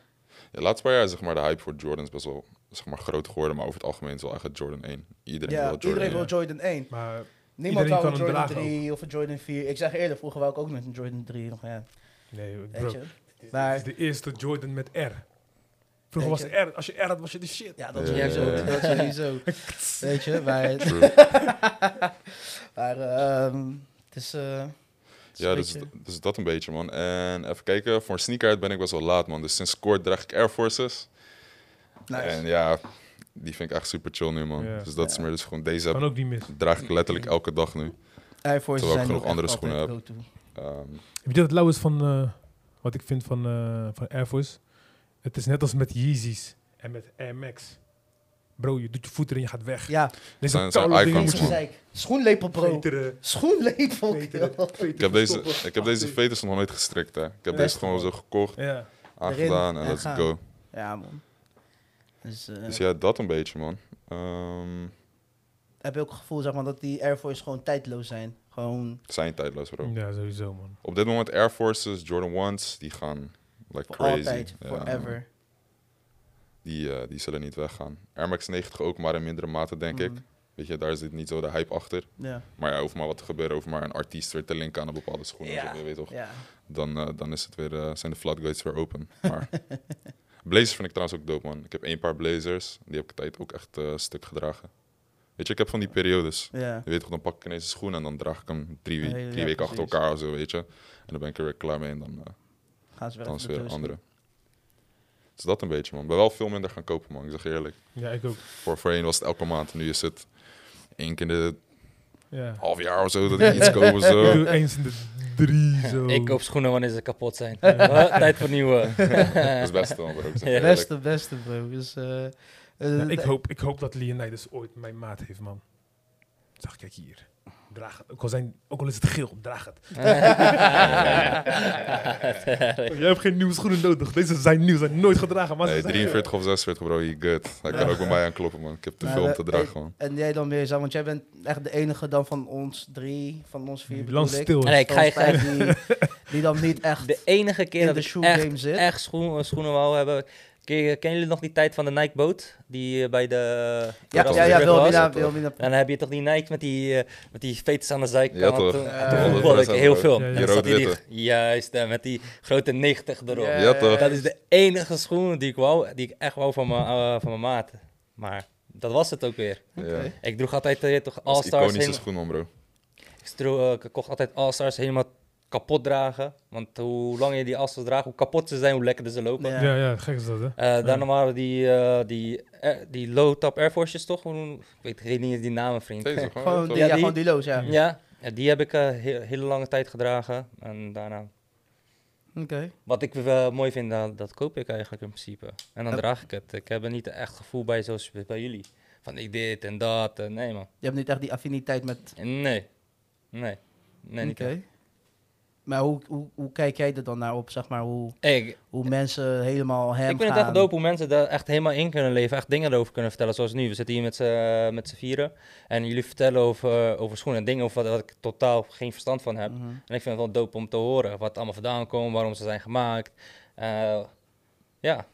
D: de laatste paar jaar is zeg maar, de hype voor Jordan is best wel zeg maar, groot geworden. Maar over het algemeen is wel echt het Jordan 1. Iedereen
B: ja,
D: wil Jordan
B: iedereen
D: 1.
B: wil Jordan 1.
C: Maar
B: Niemand
C: Iedereen
B: wou een
C: kan hem
B: Jordan
C: dragen
B: 3 of een Jordan 4. Ik zeg eerder, vroeger wou ik ook met een Jordan 3. Nog, ja,
C: nee, bro.
B: weet
C: Het
B: je?
C: is-
B: Maar-
C: het is de eerste Jordan met R.
B: Weet
C: Vroeger was
B: je-
C: de R. Als je R had, was je de shit.
B: Ja, dat
D: Ja,
B: sowieso.
D: ja, ja.
B: Dat sowieso. Weet je, maar...
D: True.
B: maar ehm, het is... eh, het is
D: Ja,
B: een
D: dus,
B: beetje-
D: dus dat een beetje, man. En even kijken, voor een sneakerhead ben ik best wel laat, man. Dus sinds kort draag ik Air Forces.
B: Nice.
D: En ja, die vind ik echt super chill nu, man.
C: Ja.
D: Dus dat is meer, dus gewoon deze
C: Kan
D: heb,
C: ook niet mis.
D: draag ik letterlijk elke dag nu.
B: Air Force
D: Terwijl ik
B: zijn
D: genoeg
B: ook echt
D: andere
B: altijd
D: schoenen heb.
B: go-to.
D: Ehm,
C: Weet je wat het lauw is van eh, wat ik vind van, eh, van Air Force? Het is net als met Yeezys en met Air Max. Bro, je doet je voet erin, je gaat weg.
B: Ja,
C: Deze
D: Zijn- zijn
C: koude dingen
D: icons,
C: moet je
D: man.
B: gezeik. Schoenlepel, bro.
C: veteren,
B: Schoenlepel.
C: veteren,
B: joh.
C: veteren
D: ik heb deze,
C: stoppen.
D: ik heb deze
C: Achter-
D: veters nog nooit gestrikt, hè. Ik heb
C: Ja.
D: deze gewoon zo gekocht,
C: Ja.
D: aangedaan en
B: en
D: let's
B: gaan.
D: go.
B: Ja, man. Dus, eh,
D: Dus ja, dat een beetje, man. Ehm,
B: heb je ook het gevoel zeg maar, dat die Air Force gewoon tijdloos zijn. Gewoon
D: zijn tijdloos, bro.
C: ja, sowieso man.
D: Op dit moment Air Forces, Jordan 1's, die gaan like
B: voor
D: crazy.
B: altijd,
D: Ja,
B: forever.
D: die, eh, die zullen niet weggaan. Air Max 90 ook, maar in mindere mate, denk ik.
B: Mhm.
D: Weet je, daar zit niet zo de hype achter.
B: Ja,
D: Maar ja, hoeft maar wat te gebeuren, hoeft maar een artiest weer te linken aan een bepaalde schoen.
B: Ja.
D: of zo, je weet toch?
B: ja.
D: Dan, eh, dan is het weer, eh, zijn de floodgates weer open. Maar blazers vind ik trouwens ook dope, man. Ik heb één paar blazers, die heb ik tijd ook echt eh, stuk gedragen. Weet je, ik heb van die periodes.
B: ja.
D: Je weet toch, dan pak ik ineens een schoen en dan draag ik hem drie, we-
B: Ja, ja,
D: drie
B: ja,
D: weken achter
B: precies.
D: elkaar of zo, weet je. En dan ben ik er weer klaar mee en dan, eh,
B: Gaan ze weer
D: dan
B: even
D: is het
B: de
D: weer een
B: doos
D: andere. Dus dat een beetje, man. Ik ben wel veel minder gaan kopen, man. Ik zeg je eerlijk.
C: Ja, ik ook.
D: Voor voorheen was het elke maand. Nu is het één keer in de
C: Ja.
D: half jaar of zo dat ik iets koop of zo.
C: Ik doe eens in de drie zo.
E: Ik koop schoenen wanneer ze kapot zijn. Eh, Tijd voor nieuwe.
D: Dat is best wel, bro. Ik zeg
E: Ja.
B: in.
D: eerlijk.
B: Beste, beste, bro. Dus, eh, eh,
C: Ja, ik,
B: eh,
C: hoop, ik hoop dat Leonidas ooit mijn maat heeft, man. Zag, kijk hier. Draag het. Ook al, zijn, ook al is het geel, draag het. Jij hebt geen nieuwe schoenen nodig. Deze zijn nieuw, zijn nooit gedragen. Maar ze
D: Nee,
C: zijn-
D: 43 of 46, bro. You good. Hij kan ook bij mij aankloppen, man. Ik heb te
B: Maar,
D: veel om
B: eh,
D: te
B: eh,
D: dragen, man.
B: En jij dan weer, Sam, want jij bent echt de enige dan van ons drie, van ons vier bedoel
C: Lans
B: ik.
C: stil. is.
E: Nee, ik ga je
B: Van ons vijf Die, die dan niet echt
E: De enige keer
B: in
E: dat
B: de
E: ik
B: shoe
E: echt,
B: game zit.
E: echt schoen, eh, schoenen wou hebben. Ken- Kennen jullie nog die tijd van de Nike boot? Die eh, bij de...
B: ja,
D: dat
B: ja,
D: was
B: ja,
D: weer
E: was?
B: Wilmina,
D: toch?
B: Wilmina.
E: En dan heb je toch die Nike met die, eh, met die veters aan de zijkant.
D: Ja, toch?
E: Toen-
B: Ja.
E: toen
B: Ja,
E: voetbalde
D: dat
E: ik
D: was
E: heel
D: ook.
E: veel.
C: Ja, ja.
E: En
D: Die
E: dan zat die-
D: rood-witte.
E: Juist, eh, met die grote 90 erop.
D: Ja, toch?
E: Dat is de enige schoen die ik wou, die ik echt wou van mijn eh, van mijn maat. Maar dat was het ook weer.
D: Ja. Dat
E: Ik droeg altijd eh, toch
D: is
E: All-Stars.
D: iconische
E: helemaal-
D: schoen, man, bro.
E: Ik, stro- eh, ik kocht altijd All-Stars helemaal kapot dragen. Want hoe langer je die All-Stars draagt, hoe kapot ze zijn, hoe lekkerder ze lopen.
B: Ja.
C: Ja, ja, gek is dat, hè?
E: Eh, daarna waren die, eh, die, eh, die low-top Air Forces toch? Hoe- Ik weet geen eens die namen, vriend.
D: Deze,
B: Gewoon,
D: gewoon.
B: die,
D: toch?
B: ja,
E: Ja, die-
B: gewoon die loos, ja.
E: Ja, ja, die heb ik eh heel, hele lange tijd gedragen. En daarna,
B: Oké.
E: wat ik wel mooi vind, dat, dat koop ik eigenlijk in principe. En dan
B: Ja.
E: draag ik het. Ik heb er niet echt gevoel bij zoals bij jullie. Van ik dit en dat. en nee, man.
B: Je hebt niet echt die affiniteit met...
E: Nee. Nee. Nee, niet
B: Oké.
E: echt.
B: Maar hoe, hoe, hoe kijk jij er dan naar op, zeg maar, hoe,
E: Hey, ik,
B: hoe mensen helemaal hem
E: ik vind
B: gaan?
E: het echt dope hoe mensen daar echt helemaal in kunnen leven. Echt dingen erover kunnen vertellen. Zoals nu. We zitten hier met z'n- eh, met z'n vieren. En jullie vertellen over, eh, over schoenen. en Dingen over wat, wat ik totaal geen verstand van heb.
B: Mhm.
E: En ik vind het wel dope om te horen wat het allemaal vandaan komt, waarom ze zijn gemaakt. Eh, ja,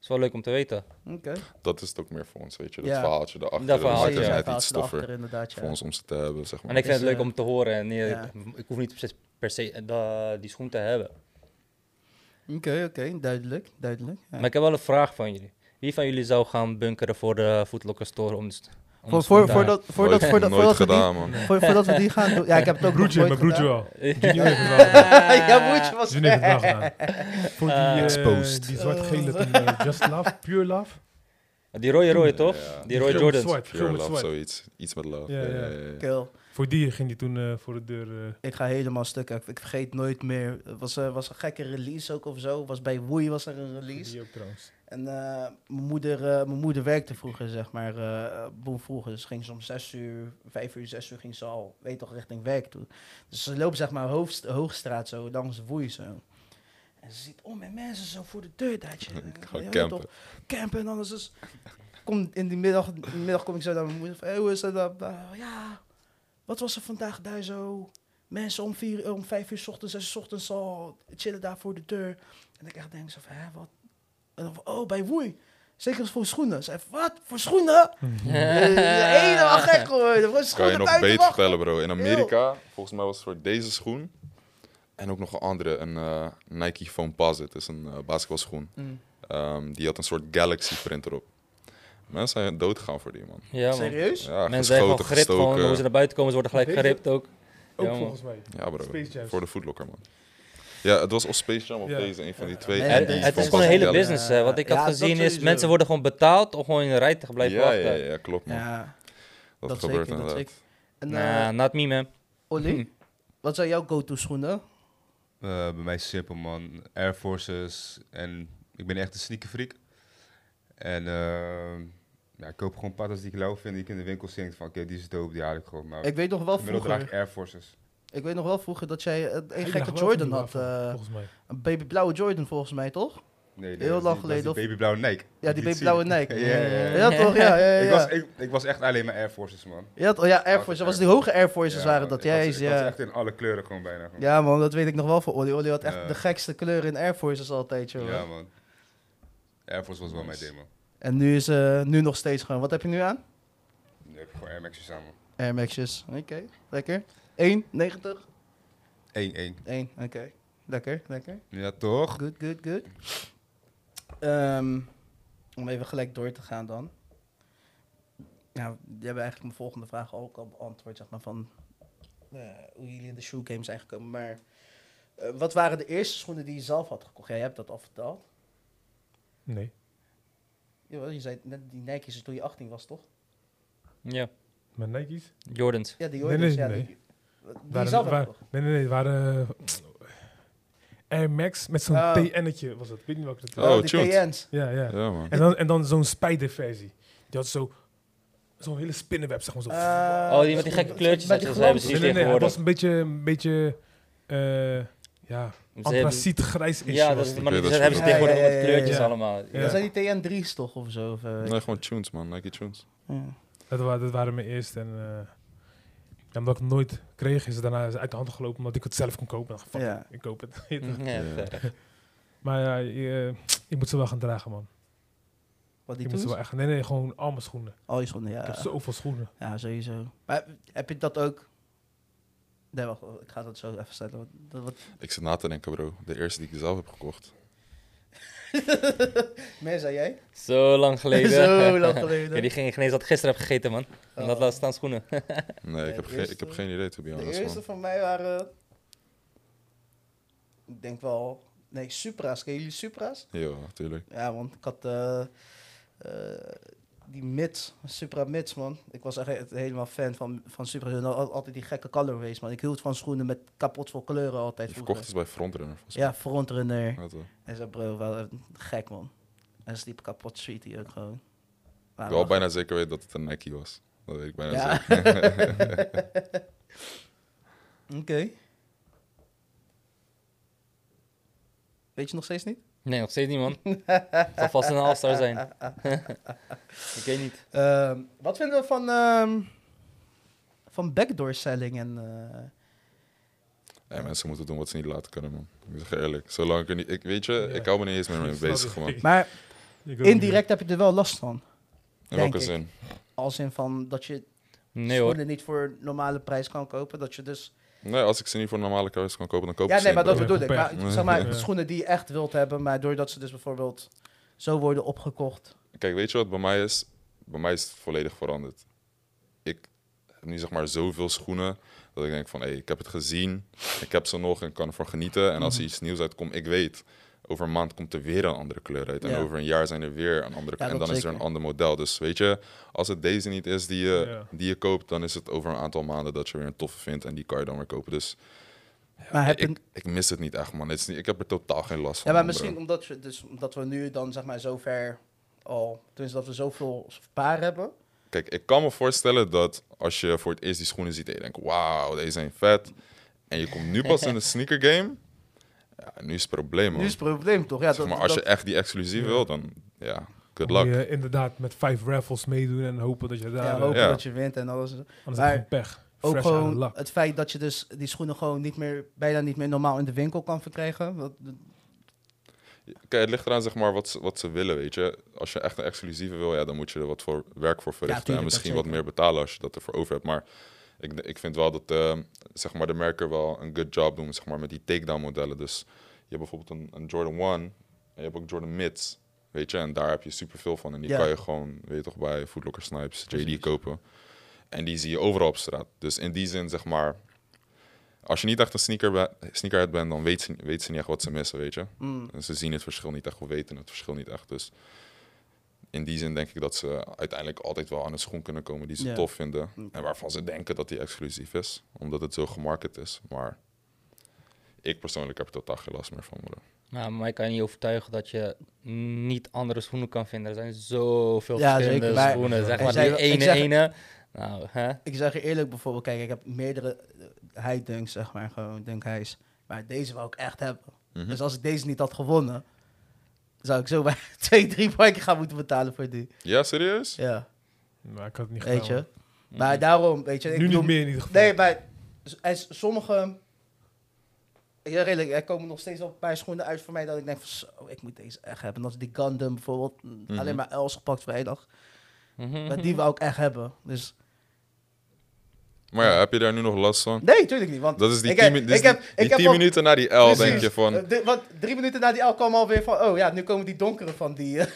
E: is wel leuk om te weten.
B: Oké.
D: Dat is het ook meer voor ons, weet je. Dat
B: Ja.
D: verhaaltje erachter.
E: Dat
D: Dat
E: verhaaltje,
D: maakt
E: ja.
D: het net
B: Verhaal
D: iets
B: zit erachter,
D: toffer
B: inderdaad, ja.
D: voor ons om ze te hebben, zeg
E: En
D: maar.
E: ik vind het
B: Is,
E: leuk
B: eh,
E: om te horen. En, eh,
B: ja.
E: Ik hoef niet per se, per se eh, da- die schoen te hebben.
B: Oké, oké, duidelijk, duidelijk. Ja.
E: Maar ik heb wel een vraag van jullie. Wie van jullie zou gaan bunkeren voor de Footlocker Store om, de st- om de
B: Voor,
E: schoen
B: voor,
E: te
B: voor
E: halen?
B: dat, voor dat, voor dat,
D: nooit
B: voordat we die-
D: gedaan, man.
B: voor- voordat we die gaan doen. Ja, ik heb het ook nog
C: Broertje,
B: nooit
C: mijn broertje
B: gedaan.
C: wel. Junior heeft het wel gedaan.
B: ja, broertje was
C: Junior heeft het wel gedaan. Voor die, eh,
D: Exposed.
C: die zwart-gele toen, eh, Just Love, Pure Love.
E: Die rode rode toch?
D: Ja.
E: Die
C: Geel
E: rode
C: met
E: Jordans.
C: Zwart, geel
D: Pure
C: met
D: love,
C: zwart.
D: zoiets. Iets met love.
C: Ja,
D: Ja,
C: ja.
D: ja, ja.
B: Kill.
C: Voor die ging die toen eh, voor de deur. eh,
B: Ik ga helemaal stuk. Ik, ik vergeet nooit meer. Het was, eh, was een gekke release ook of zo. Was bij Woei was er een release.
C: die ook trouwens.
B: En eh, mijn, moeder, eh, mijn moeder werkte vroeger, zeg maar, eh boem vroeger. Dus ging ze om zes uur, vijf uur, zes uur ging ze al, weet toch, richting werk toe. Dus ze loopt, zeg maar, hoofd, Hoogstraat zo, langs Woei zo. En ze ziet, oh, mijn mensen zo voor de deur, dat je.
D: Gewoon
B: Ja,
D: campen.
B: toch, Campen en alles. Dus kom in die middag, in de middag kom ik zo naar mijn moeder. Van, hey, hoe is dat? dat? dat? Ja, wat was er vandaag daar zo? Mensen om, vier, om vijf uur 's ochtends, zes uur 's ochtends al chillen daar voor de deur. En ik echt denk zo van, hè, wat? En dan van, oh, bij woei. Zeker voor schoenen. Zei, wat? Voor schoenen? Eh, Helemaal gek geworden. Voor
D: Kan je
B: schoenen
D: nog
B: buiten
D: beter
B: wachten.
D: vertellen, bro. In Amerika, volgens mij was het voor deze schoen. En ook nog een andere, een eh, Nike Foam Posit. Dat is een eh, basketbalschoen.
B: Mm.
D: Ehm, die had een soort Galaxy print erop. Mensen zijn doodgegaan voor die man.
E: Ja, man.
B: Serieus?
D: Ja,
E: Mensen zijn gewoon
D: geschoten,
E: geript. Gewoon,
D: gestoken.
E: hoe ze naar buiten komen, ze worden gelijk
C: Weet je-
E: geript ook.
C: Ook
E: Ja, man.
C: volgens mij.
D: Ja, bro.
C: Space Jams.
D: Voor de Footlocker, man. Ja, het was of Space Jam of
C: Ja.
D: deze, een van die twee.
B: Ja,
D: En
E: En
D: die
E: het
D: Foam
E: is gewoon een
D: Posit
E: hele
D: Galaxy.
E: business. eh, wat ik
B: Ja,
E: had
B: dat
E: gezien is,
B: sowieso.
E: mensen worden gewoon betaald om gewoon in de rij te blijven
D: Ja,
E: wachten.
D: ja, ja, klopt, man.
B: Ja,
D: Dat,
B: dat
D: gebeurt
B: zeker, dat
D: inderdaad.
B: zeker. En eh
E: Nah, not me, man.
B: Olly,
E: Hm.
B: wat zijn jouw go-to schoenen?
F: Eh, bij mij is het simpel, man. Air Forces en ik ben echt een sneakerfreak. En eh, ja, ik koop gewoon patas die ik lauw vind, die ik in de winkel zie. en ik Van oké, die is dope, die haal ik gewoon. Maar
B: Ik weet nog wel
F: inmiddels draag
B: vroeger,
F: ik Air Forces.
B: ik weet nog wel vroeger dat jij eh, een
C: Ik
B: gekke
C: dacht wel van
B: Jordan
C: die
B: had.
C: waarvan,
B: eh,
C: volgens mij.
B: een babyblauwe Jordan volgens mij, toch?
F: Nee,
B: Heel lang geleden,
F: geleden.
B: of-
F: Die babyblauwe Nike.
B: Ja, die babyblauwe Nike.
F: Ja, ja, ja.
B: Ja, toch? Ja, ja, ja.
F: Ik, was, ik, ik was echt alleen maar Air Forces, man.
B: Je had- oh ja, Air
F: Altijd
B: Force. Dat was
F: Air
B: die hoge Air Forces
F: Ja,
B: waren
F: man.
B: dat.
F: Ik had
B: Ja,
F: ze-
B: is,
F: ik had ze
B: ja.
F: echt in alle kleuren gewoon bijna. Gewoon.
B: ja, man, dat weet ik nog wel van Olly. Olly had echt
F: Ja.
B: de gekste kleuren in Air Forces altijd, joh.
F: Ja, man. Air Force was wel mijn ding, man.
B: En nu is eh, nu nog steeds gewoon. Wat heb je nu aan?
F: Nu heb ik gewoon Air Max'jes samen.
B: Air Max's. Oké, lekker. 1, 90?
F: 1-1.
B: 1, oké. Lekker, lekker.
F: Ja, toch?
B: Good, good, good. Ehm, om even gelijk door te gaan dan. Ja, die hebben eigenlijk mijn volgende vraag ook al beantwoord, zeg maar, van eh, hoe jullie in de shoe game zijn gekomen. Maar eh, wat waren de eerste schoenen die je zelf had gekocht? Jij hebt dat al verteld.
C: Nee.
B: Jawel, je zei net die Nike's toen je 18 was, toch?
E: Hm. Ja,
C: Met Nike's?
E: Jordans.
B: Ja, die
C: Nee,
B: Jordans.
C: nee,
B: ja,
C: nee.
B: Die, die je
C: Waren-
B: zelf
C: waren-
B: had gekocht.
C: Nee, nee, nee. Het waren eh, Air Max met zo'n
B: Oh.
C: TN'tje was dat. Ik weet niet welke dat was.
D: Oh,
B: die
D: tuned.
B: TN's.
C: Ja, ja.
D: Ja, man.
C: En dan, en dan zo'n spijderversie. Die had zo, zo'n hele spinnenweb, zeg maar zo.
B: Eh,
E: Oh, die met die gekke kleurtjes
B: met die
E: dat ze hebben,
B: glans.
E: die
C: nee, nee, nee. Het
E: tegenwoordig.
C: was een beetje, een beetje eh ja,
E: Ze hebben-
C: antraciet grijs is.
E: Ja, dat is, maar
D: Ja,
E: dat
D: dat
E: is-
D: is
E: hebben ze
B: goed.
E: tegenwoordig
B: Oh, Ja,
E: ook
B: ja,
E: met
B: ja,
E: kleurtjes
C: ja.
E: allemaal. Ja.
C: Ja.
B: Dat zijn die TN3's toch, of zo? Of, eh,
D: Nee, gewoon tunes, man. Nike tunes.
B: ja.
C: Dat, wa- dat waren mijn eerste. En, eh, ja, omdat ik het nooit kreeg, is het daarna uit de hand gelopen. Omdat ik het zelf kon kopen. Dan, fuck,
B: Ja.
C: ik koop het. Weet je toch?
E: Ja,
D: Ja.
E: verder.
C: maar ja, je, eh, ik moet ze wel gaan dragen, man.
B: Wat die Ah.
C: Ik moet ze
B: toen?
C: wel echt, nee, nee, gewoon al mijn schoenen.
B: Al je schoenen, ja.
C: Ik heb zoveel schoenen.
B: Ja, sowieso. Maar heb je dat ook... Nee, wacht. Ik ga dat zo even stellen. want Dat, wat...
D: Ik zit na te denken, bro. De eerste die ik zelf heb gekocht.
B: Meer zei jij?
E: Zo lang geleden.
B: Zo lang
E: Ja,
B: geleden.
E: die ging ik ineens dat ik gisteren heb gegeten, man. En dat
B: Oh.
E: laat staan schoenen.
D: Nee, ik
B: de
D: heb, geen- ik
B: eerste-
D: heb geen idee, to be
B: De
D: honest,
B: eerste
D: man.
B: van mij waren... Ik denk wel... Nee, Supra's. Ken jullie Supra's?
D: Ja, natuurlijk.
B: Ja, want ik had... eh, eh, die mids, Supra mids, man. Ik was echt he- helemaal fan van, van Supra. En al- altijd die gekke colorways, man. Ik hield van schoenen met kapot veel kleuren altijd
D: Die verkocht
B: vroeger.
D: is bij Frontrunner, volgens mij.
B: Ja, frontrunner.
D: Dat wel.
B: Hij zei, bro, wel eh, gek man. En ze liepen kapot street hier ook gewoon. Maar
D: Ik wil
B: wacht.
D: bijna zeker weten dat het een Nike was. Dat weet ik bijna
B: Ja.
D: zeker.
B: Oké. Weet je nog steeds niet? Ah,
E: Nee, nog steeds niet, man. Het zal vast een all-star zijn. ik weet niet.
B: Ehm, wat vinden we van, ehm, van backdoor selling en... eh,
D: Ja, mensen moeten doen wat ze niet laten kunnen, man. Ik zeg je eerlijk. Zolang ik er niet... Ik, weet je,
C: Ja.
D: ik hou me niet eens meer mee
C: Ik snap
D: bezig,
C: het.
D: man.
C: Ik
B: maar
C: wil het
B: indirect heb je er wel last van.
D: In welke
B: ik.
D: zin?
B: Als in van dat je
E: Nee hoor.
B: schoenen niet voor normale prijs kan kopen. Dat je dus...
D: Nee, als ik ze niet voor een normale kruis kan kopen, dan koop ik
B: Ja,
D: ze
B: nee, maar
D: niet,
B: dat
D: bro.
C: broer.
B: bedoel ik.
C: Gekocht.
B: Maar, zeg maar,
C: Ja.
B: schoenen die je echt wilt hebben, maar doordat ze dus bijvoorbeeld zo worden opgekocht.
D: Kijk, weet je wat bij mij is? Bij mij is het volledig veranderd. Ik heb nu zeg maar zoveel schoenen
B: Mhm.
D: dat ik denk van, hé, ik heb het gezien. Ik heb ze nog en kan ervan genieten. En als er iets nieuws uitkomt, ik weet... Oké, Over een maand komt er weer een andere kleur uit. En
B: Ja.
D: over een jaar zijn er weer een andere
B: Ja,
D: kleur. En
B: dat
D: dan is er
B: zeker.
D: een ander model. Dus weet je, als het deze niet is die je,
C: Ja.
D: die je koopt, dan is het over een aantal maanden dat je weer een toffe vindt. En die kan je dan weer kopen. Dus
B: Maar heb je,
D: ik, ik mis het niet echt, man. Het is niet, ik heb er totaal geen last van.
B: ja, maar
D: man, bro.
B: misschien omdat, je, dus, omdat we nu dan zeg maar zo ver al, tenminste dat we zoveel paar hebben.
D: Kijk, ik kan me voorstellen dat als je voor het eerst die schoenen ziet en je denkt, wauw, deze zijn vet. En je komt nu pas in de sneaker game. Ja, nu is het probleem, man.
B: Nu is het probleem toch? Ja,
D: zeg
B: dat,
D: maar, als je
B: dat-
D: echt die exclusief
C: Ja.
D: wil, dan ja, good
C: Moet
D: luck.
C: je eh, inderdaad met vijf raffles meedoen en hopen dat je daar...
B: ja,
C: eh,
B: hopen
D: Ja.
B: dat je wint en alles.
C: Anders
B: Maar
C: heb je gewoon pech.
B: Ook
C: Fresh out of
B: gewoon
C: luck.
B: het feit dat je dus die schoenen gewoon niet meer, bijna niet meer normaal in de winkel kan verkrijgen. Wat,
D: Kijk, het ligt eraan zeg maar, wat, ze, wat ze willen, weet je. Als je echt een exclusieve wil, ja, dan moet je er wat voor werk voor verrichten.
B: tuurlijk,
D: en
B: dat
D: misschien wat
B: zeker.
D: meer betalen als je dat ervoor over hebt. Maar ik, ik vind wel dat eh, zeg maar, de merken wel een good job doen zeg maar, met die takedown modellen. Dus je hebt bijvoorbeeld een, een Jordan 1 en je hebt ook Jordan Mids. Weet je, en daar heb je superveel van. En die
B: Ja.
D: kan je gewoon, weet je toch, bij Footlocker Snipes, JD kopen. En die zie je overal op straat. Dus in die zin, zeg maar, als je niet echt een sneaker be- sneakerhead bent, dan weet ze, weet ze niet echt wat ze missen, weet je.
B: mm.
D: En ze zien het verschil niet echt, of weten het verschil niet echt. Dus in die zin denk ik dat ze uiteindelijk altijd wel aan een schoen kunnen komen die ze
B: Ja.
D: tof vinden.
B: Hm.
D: En waarvan ze denken dat die exclusief is, omdat het zo gemarket is. Maar ik persoonlijk heb er totaal geen last meer van. bro.
E: Nou, maar ik kan je niet overtuigen dat je niet andere schoenen kan vinden. Er zijn zoveel
B: Ja,
E: verschillende
B: zeker, maar-
E: schoenen. Zeg
B: Ik
E: maar
B: zei
E: die
B: wel- ik
E: ene
B: zeg-
E: ene. Nou, hè?
B: Ik zeg je eerlijk bijvoorbeeld, kijk, ik heb meerdere eh, heidunks, zeg maar, gewoon dunkhuis. Maar deze wou ik echt hebben.
D: Mhm.
B: Dus als ik deze niet had gewonnen, zou ik zo bij twee, drie parken gaan moeten betalen voor die.
D: Ja, serieus?
B: Ja,
C: Maar ik had het niet
B: weet je.
C: gedaan.
B: Maar daarom, weet je. Ik
C: Mhm. Nu
B: bedoel-
C: niet meer in ieder geval.
B: Nee, maar s- en s- sommige... Ik zeg eerlijk, er komen nog steeds wel een paar schoenen uit voor mij dat ik denk van zo, ik moet deze echt hebben. En als die Gundam bijvoorbeeld, m,
D: Mhm.
B: alleen maar Els gepakt vrijdag.
E: Mhm.
B: Maar die wou ik echt hebben. Dus
D: Maar ja, heb je daar nu nog last van?
B: nee, tuurlijk niet. Want
D: Dat is die
B: ik
D: 10
B: heb-
D: min-
B: ik
D: dit is die-
B: heb- ik
D: die
B: heb
D: 10
B: al-
D: minuten na die L, denk
B: Precies.
D: je van,
B: Eh, di- want drie minuten na die al kwam alweer van, oh ja, nu komen die donkere van die. eh,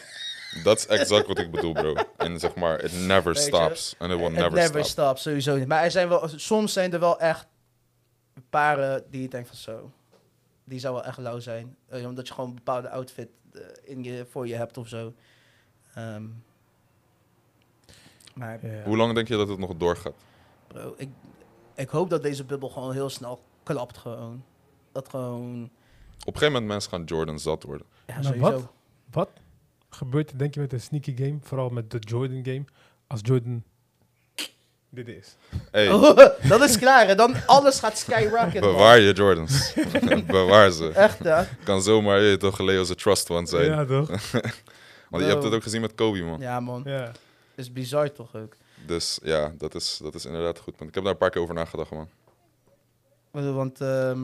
D: dat is exact wat ik bedoel, bro. En zeg maar, it never
B: Weet je?
D: stops. And it will
B: Het
D: never,
B: never
D: stop.
B: stop, sowieso niet. Maar er zijn wel, soms zijn er wel echt paren die je denkt van zo, die zou wel echt lauw zijn. Eh, omdat je gewoon een bepaalde outfit eh, in je, voor je hebt of zo. Ehm, maar
C: Ja.
D: Hoe lang denk je dat het nog doorgaat?
B: bro, ik, ik hoop dat deze bubbel gewoon heel snel klapt gewoon. Dat gewoon,
D: Op een gegeven moment mensen gaan Jordan zat worden.
B: ja
C: Maar
B: sowieso.
C: wat? Wat gebeurt er, denk je, met een sneaky game, vooral met de Jordan game, als Jordan dit is?
D: Hey,
B: Oh, dat is klaar en dan alles gaat skyrocket. man.
D: Bewaar je Jordans. Bewaar ze.
B: Echt hè?
D: Kan zomaar je toch Leo's een trust fund zijn.
C: Ja, toch?
D: Want je hebt het
B: Bro.
D: ook gezien met Kobe, man.
B: Ja man,
C: ja.
B: is bizar toch ook.
D: Dus ja, dat is, dat is inderdaad goed. punt. Ik heb daar een paar keer over nagedacht, man.
B: Want, ehm,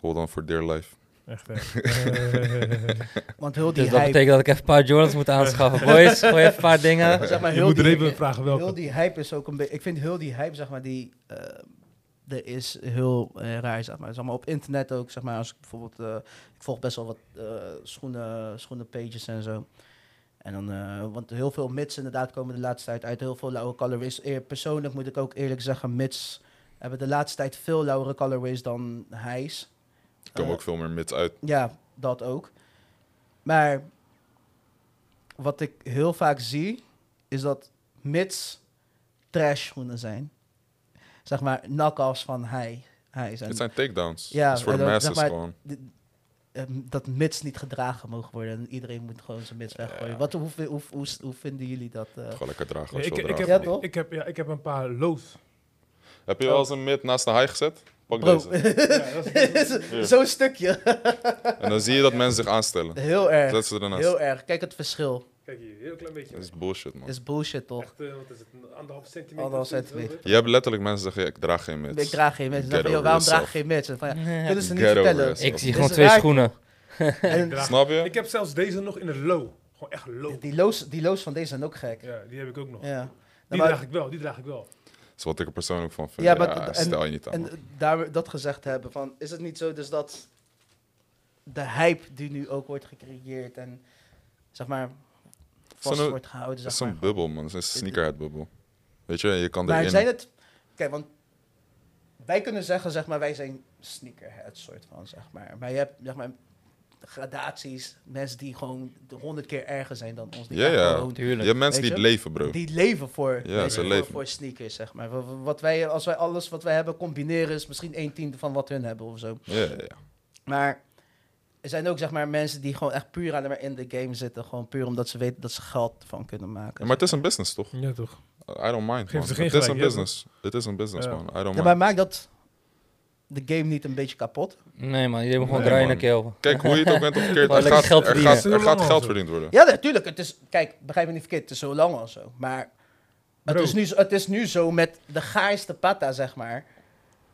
D: Hold on for dear life.
C: Echt, hè. Eh,
B: want heel die
E: Dus dat
B: hype...
E: betekent dat ik even een paar Jordans moet aanschaffen. Boys, gooi even een paar dingen.
B: Zeg maar,
C: je
B: heel
C: moet er
B: die-
C: even vragen
B: Heel
C: welke.
B: die hype is ook een beetje... Ik vind heel die hype, zeg maar, die... eh, er is heel eh, raar, zeg maar. Zeg maar. Op internet ook, zeg maar. Als ik bijvoorbeeld... eh, ik volg best wel wat eh, schoenen, schoenenpages en zo. En dan... eh, want heel veel mits inderdaad komen de laatste tijd uit. Heel veel lauwe colorways. Eh, Persoonlijk moet ik ook eerlijk zeggen, mits... Hebben de laatste tijd veel lauwere colorways dan hijs.
D: Er komen
B: Eh,
D: ook veel meer mids uit.
B: ja, dat ook. Maar wat ik heel vaak zie, is dat mits trash schoenen zijn. Zeg maar, knock-offs van hij. hij zijn,
D: Het zijn takedowns.
B: Ja,
D: Ja, is voor de
B: maar dat-
D: masses
B: zeg maar-
D: gewoon.
B: eh, dat mits niet gedragen mogen worden. En iedereen moet gewoon zijn mits weggooien. Wat, hoe, vi- hoe, hoe, hoe vinden jullie dat? eh?
D: Gewoon lekker dragen
C: Ja,
D: als je
C: ik,
D: wil
C: ik, heb,
D: dragen.
B: Ja, toch?
C: ik, heb, ja, ik heb een paar lows.
D: Heb je wel eens een mid naast de high gezet? Pak
B: Bro,
D: deze. Ja.
B: zo'n stukje.
D: En dan zie je dat mensen zich aanstellen.
B: Heel erg.
D: Zet ze ernaast.
B: Heel erg. Kijk het verschil.
C: Kijk hier, heel klein beetje.
D: Dat is bullshit, man.
B: Is bullshit toch?
C: Echt, eh, wat is het, een anderhalf centimeter?
B: Anderhalf
C: of zoiets,
B: centimeter.
D: Je hebt letterlijk mensen die zeggen, ik draag geen mids.
B: Ik draag geen mits. Dan
D: Get
B: van, joh,
D: over
B: Waarom draag je
D: yourself.
B: geen mits? En van, ja, kunnen ze niet Dus
D: Get over
B: vertellen.
D: yourself.
E: Ik zie
B: Is
E: gewoon
B: het
E: twee
B: raar?
E: schoenen.
B: En-
C: draag-
D: Snap
C: hè?
D: je?
C: Ik heb zelfs deze nog in een low. Gewoon echt low.
B: Die loos, die loos van deze zijn ook gek. Ja.
C: Ja, die heb ik ook nog. Die
B: ja. Nou, maar-
C: draag ik wel, die draag ik wel.
D: Dat is wat ik er persoonlijk van vind.
B: Ja,
D: Ja,
B: maar dat- en-
D: stel je niet aan.
B: En
D: man.
B: eh, daar we dat gezegd hebben, van, is het niet zo dus dat de hype die nu ook wordt gecreëerd en zeg maar vast
D: Zo'n-
B: wordt gehouden,
D: Het
B: zeg
D: is
B: maar.
D: een bubbel, man. Het is een sneakerhead bubbel. Weet je, je kan
B: Maar
D: erin.
B: zijn het... Kijk, want wij kunnen zeggen, zeg maar, wij zijn sneakerhead soort van, zeg maar. Maar je hebt, zeg maar, gradaties. Mensen die gewoon honderd keer erger zijn dan ons. Die
D: Ja,
B: echt
D: ja.
B: gewoon-
D: Je
E: Tuurlijk.
D: hebt mensen
B: Weet
D: die het
B: je?
D: leven, bro.
B: Die leven voor,
D: Ja,
B: weet
D: ze
B: je, voor-
D: leven.
B: voor sneakers, zeg maar. Wa- wa- Wat wij, als wij alles wat wij hebben combineren, is misschien een tiende van wat hun hebben of zo.
D: Ja, ja, ja.
B: Maar er zijn ook zeg maar, mensen die gewoon echt puur alleen maar in de game zitten. Gewoon puur omdat ze weten dat ze geld van kunnen maken.
D: Maar het is een business, toch?
C: Ja, toch.
D: I don't mind,
C: Geef
D: man.
C: ze geen
D: Het is een
C: gelijk, ja,
D: business. Het is een business,
C: Ja.
D: man. I don't
B: Ja,
D: mind.
B: maar maakt dat de game niet een beetje kapot?
E: Nee man, iedereen moet gewoon
D: Nee,
E: draaien naar
D: man.
E: keel.
D: Kijk, hoe je het ook bent of verkeerd,
E: Gewoon
D: er
E: lekker
D: gaat,
E: geld
D: er
E: verdienen.
D: gaat, er gaat geld verdiend worden.
B: Ja, natuurlijk. Het is, kijk, begrijp me niet verkeerd. Het is zo lang al zo. Maar het
C: Bro.
B: is, nu, zo- het is nu zo met de gaarste patta, zeg maar.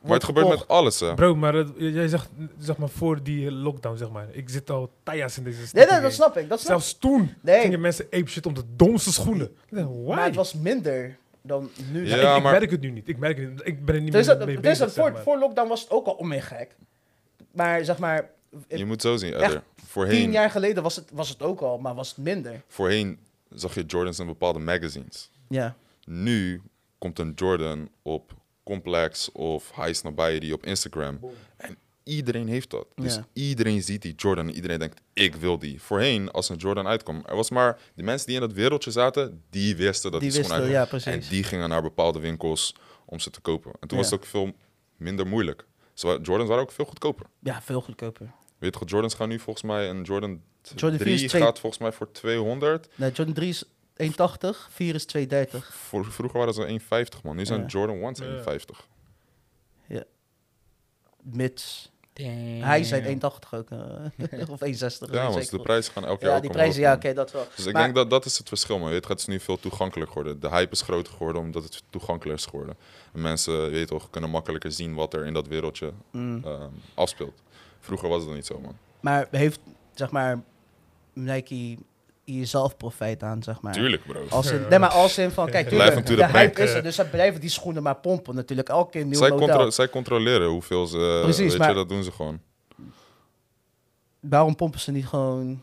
D: Maar het gebeurt met alles, hè.
C: Bro, maar dat- jij zegt, zeg maar, voor die lockdown, zeg maar. Ik zit al tija's in deze
B: Nee,
C: sneaker
B: nee,
C: game.
B: dat snap ik. Dat snap ik.
C: Zelfs toen
B: Nee.
C: gingen mensen ape shit om de domste schoenen. Ik dacht, Why?
B: Maar het was minder dan nu.
D: Ja,
C: Ja, ik, ik
D: maar-
C: merk het nu niet. Ik merk het niet. Ik ben er niet
B: Dus
C: meer
B: dat,
C: mee
B: dus
C: bezig.
B: dat
C: zeg
B: voor,
C: maar.
B: voor lockdown was het ook al om in gek. Maar zeg maar,
D: Je moet zo zien,
B: Echt
D: Edder.
B: tien
D: Voorheen,
B: jaar geleden was het, was het ook al, maar was het minder.
D: voorheen zag je Jordans in bepaalde magazines.
B: Ja.
D: Nu komt een Jordan op Complex of High Snobiety op Instagram. En iedereen heeft dat. Dus
B: Ja.
D: iedereen ziet die Jordan en iedereen denkt, ik wil die. Voorheen, als een Jordan uitkwam, er was maar... De mensen die in dat wereldje zaten, die wisten dat die,
B: Die
D: schoen
B: wisten,
D: uitkwam.
B: ja, precies.
D: En die gingen naar bepaalde winkels om ze te kopen. En toen was
B: Ja.
D: het ook veel minder moeilijk. Ze wa- Jordans waren ook veel goedkoper.
B: Ja, veel goedkoper.
D: Weet je, goed, Jordans gaan nu volgens mij... Een Jordan,
B: Jordan
D: 3
B: vier is twee-
D: gaat volgens mij voor 200.
B: Nee, Jordan 3 is 1,80, 4 is 2,30.
D: Voor, vroeger waren ze 1,50 man. Nu zijn
B: Ja.
D: Jordan 1's
C: Ja.
D: 1,50.
B: Mits.
E: Damn.
B: Hij zijn 1,80 ook. eh, of 1,60.
D: Ja,
B: weet
D: want
B: ik
D: de
B: veel.
D: prijzen gaan elk jaar
B: Ja,
D: ook
B: die
D: omhoog,
B: prijzen, ja,
D: man.
B: oké, dat wel.
D: Dus ik
B: Maar-
D: denk dat dat is het verschil, man. Weet, je, het is nu veel toegankelijker geworden. De hype is groter geworden omdat het toegankelijker is geworden. En mensen, je weet toch, kunnen makkelijker zien wat er in dat wereldje
B: Mm.
D: ehm, afspeelt. Vroeger was het niet zo, man.
B: Maar heeft, zeg maar, Nike hier zelf profijt aan, zeg maar?
D: Tuurlijk, bro.
B: Als in, nee, maar als in van, kijk,
D: Blijf
B: tuurlijk,
D: hem to
B: de
D: the bank.
B: hype is er, dus ze blijven die schoenen maar pompen natuurlijk. Elke keer een nieuw
D: eh. Zij, contro-
B: model.
D: zij controleren hoeveel ze... eh,
B: Precies,
D: weet je,
B: maar-
D: dat doen ze gewoon.
B: Waarom pompen ze niet gewoon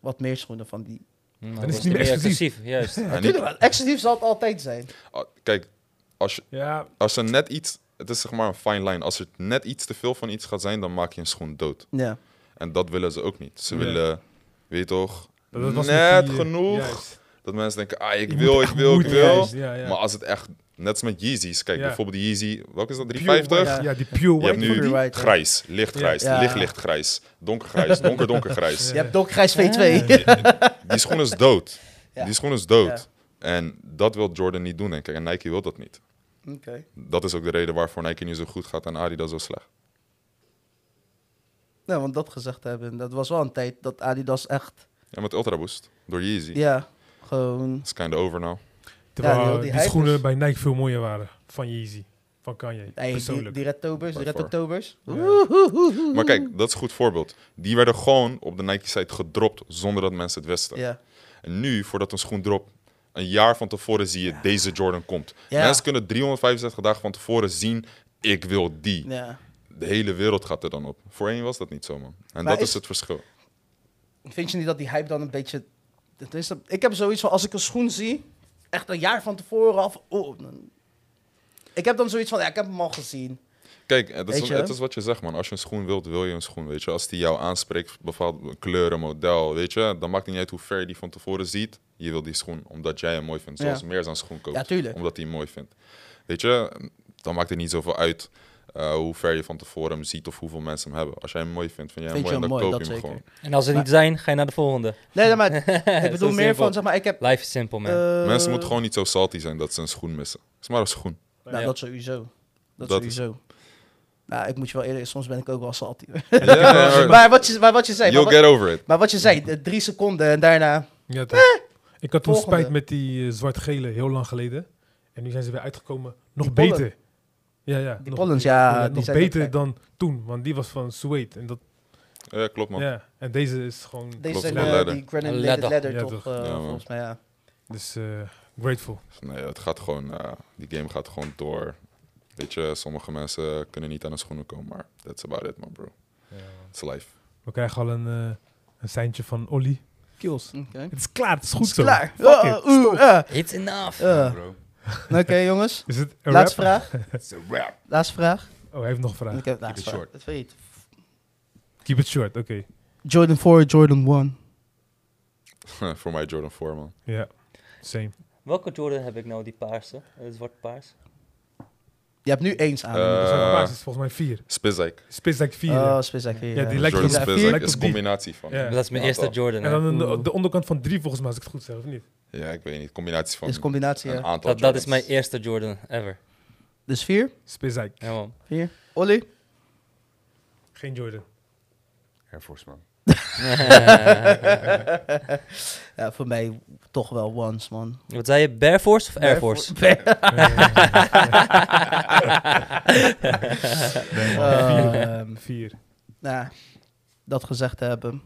B: wat meer schoenen van die?
E: Nou,
C: het
E: was
C: niet meer exclusief.
E: Juist.
D: En niet-
B: Natuurlijk, wel, exclusief zal het altijd zijn.
D: ah, kijk, als, je,
C: Ja,
D: als er net iets... Het is zeg maar een fine line. Als er net iets te veel van iets gaat zijn, dan maak je een schoen dood.
B: Ja.
D: En dat willen ze ook niet. Ze
C: Nee.
D: willen, weet je toch,
C: dat, dat was
D: net
C: met die, eh,
D: genoeg.
C: juist.
D: Dat mensen denken, ah, ik
C: Je
D: wil,
C: moet
D: ik
C: echt
D: wil, ik
C: moeten,
D: wil.
C: juist. Ja, ja.
D: Maar als het echt, net als met Yeezys, kijk
C: Ja.
D: bijvoorbeeld die Yeezy, welke is dat,
C: Pure
D: 350?
C: white, Ja, die pure
D: Je hebt
C: white.
D: nu
B: Pure white, ja.
D: grijs, lichtgrijs,
B: Ja.
D: licht, lichtgrijs, donkergrijs, donker, donkergrijs.
B: Je hebt ook grijs V2.
D: Die schoen is dood.
B: Ja.
D: Die schoen is dood. En dat wil Jordan niet doen, denk ik. En Nike wil dat niet.
B: Oké.
D: Dat is ook de reden waarvoor Nike nu zo goed gaat en Adidas zo slecht.
B: Nou, want dat gezegd hebben, dat was wel een tijd dat Adidas echt,
D: Ja, met Ultra Boost, door Yeezy.
B: ja, gewoon...
D: It's kind of over nou. now.
C: Terwijl
B: Ja, heel die
C: die,
B: hype is-
C: schoenen bij Nike veel mooier waren. Van Yeezy. Van Kanye.
B: Hey, die,
C: persoonlijk.
B: die Red Tobers, die
D: By
B: Red
D: far.
B: Tobers.
C: Ja.
D: Maar kijk, dat is een goed voorbeeld. Die werden gewoon op de Nike-site gedropt zonder dat mensen het wisten.
B: Ja.
D: En nu, voordat een schoen dropt, een jaar van tevoren zie je deze Jordan komt.
B: Ja.
D: Mensen kunnen 365 dagen van tevoren zien, ik wil die.
B: ja.
D: De hele wereld gaat er dan op. Voorheen was dat niet zo, man. En
B: Maar
D: dat is...
B: is-
D: het verschil.
B: Vind je niet dat die hype dan een beetje... Het is, ik heb zoiets van, als ik een schoen zie, echt een jaar van tevoren af... Oh, dan- ik heb dan zoiets van, ja, ik heb hem al gezien.
D: Kijk, het is,
B: Weet je?
D: het is wat je zegt, man. Als je een schoen wilt, wil je een schoen, weet je. Als die jou aanspreekt, bepaald kleuren, model, weet je. Dan maakt het niet uit hoe ver je die van tevoren ziet. Je wil die schoen omdat jij hem mooi vindt. Zoals
B: Ja.
D: meer dan schoen koopt.
B: Ja, tuurlijk.
D: Omdat hij hem mooi vindt. Weet je, dan maakt het niet zoveel uit eh, hoe ver je van tevoren hem ziet of hoeveel mensen hem hebben. Als jij hem mooi vindt, vind jij hem
B: Vind
D: mooi
B: je
D: en dan
B: hem mooi,
D: koop je
B: dat
D: hem
B: zeker.
D: gewoon.
E: En als ze niet zijn, ga je naar de volgende.
B: Nee, nee, maar ik bedoel
E: Zo
B: meer
E: simpel.
B: van, zeg maar, ik heb...
E: Life is simpel, man.
B: eh,
D: Mensen moeten gewoon niet zo salty zijn dat ze een schoen missen. Het is maar een schoen.
B: Nou,
E: Ja.
B: dat sowieso. Dat,
D: Dat is-
B: sowieso. Nou, ik moet je wel eerlijk... Soms ben ik ook wel salty.
D: Ja, ja, ja.
B: maar, wat je, maar wat je zei... Maar
D: You'll
B: wat,
D: get over it.
B: maar wat je zei, de drie seconden en daarna...
C: Ja, toch. Ik had toen
B: Eh! Volgende.
C: spijt met die eh, zwart-gele heel lang geleden. En nu zijn ze weer uitgekomen. Nog
B: Die pollen.
C: beter. Ja, ja.
B: Die
C: nog,
B: pollens, ja, die
C: nog
B: zijn ook
C: beter
B: gek.
C: dan toen. Want die was van Suede. En, dat,
D: Ja, klopt man.
C: ja. en deze is gewoon...
B: Deze
D: Klopt,
B: zijn
D: wel
B: eh,
D: leather.
B: die granulated leather,
E: Leather.
C: Ja,
B: toch?
C: toch.
B: eh,
D: Ja, man.
B: volgens mij, ja.
C: Dus eh, grateful.
D: Nee, het gaat gewoon, eh, die game gaat gewoon door. Weet je, sommige mensen kunnen niet aan hun schoenen komen, maar that's about it man bro. It's life.
C: We krijgen al een, eh een seintje van Olly. Kills.
B: Oké.
C: Het is klaar. Het is goed
B: Is
C: zo.
B: klaar.
C: Fuck
B: Oh,
C: it.
B: oeh, eh,
E: It's enough.
B: eh.
F: bro.
B: Oké, jongens.
C: Is het een
B: Laatste
C: rap?
B: vraag.
F: It's a wrap.
B: Laatste vraag.
C: Oh, hij heeft nog een vraag.
B: Ik heb
F: it
B: laatste vraag.
F: short.
B: Dat weet je.
C: Keep it short, oké.
B: Jordan 4, Jordan 1.
D: Voor mij Jordan 4, man.
C: Ja, same.
E: Welke Jordan heb ik nou, die paarse? Eh, zwart paars?
B: Je hebt nu eens aan.
D: Eh,
C: Dus mijn baas is volgens mij vier.
D: Spizijk.
C: Spits like vier.
B: oh,
C: ja.
B: Spizak weer.
C: Ja, die lijkt
D: Jordan
C: op-
B: Spizak
D: Spizijk
C: lijkt op
D: is een
C: die.
D: combinatie van.
C: Ja.
E: Dat is mijn
D: Ja,
E: eerste
D: toch.
E: Jordan.
C: En
E: hè.
C: dan de,
B: Oeh.
C: de onderkant van drie volgens mij, als ik het goed zeg, of niet?
D: Ja, ik weet niet. Combinatie van
B: is combinatie,
D: een
B: ja.
D: aantal
E: Dat, dat is mijn
D: Jordans.
E: eerste Jordan ever.
B: Dus 4.
C: Spits like.
E: Ja, man.
B: 4. Olly.
C: Geen Jordan.
F: Air Force, man.
B: Ja, voor mij toch wel Eh, once, man.
E: Wat zei je, Bear Force of Air Force?
B: Ehm,
C: Vier.
B: nou, dat gezegd te hebben,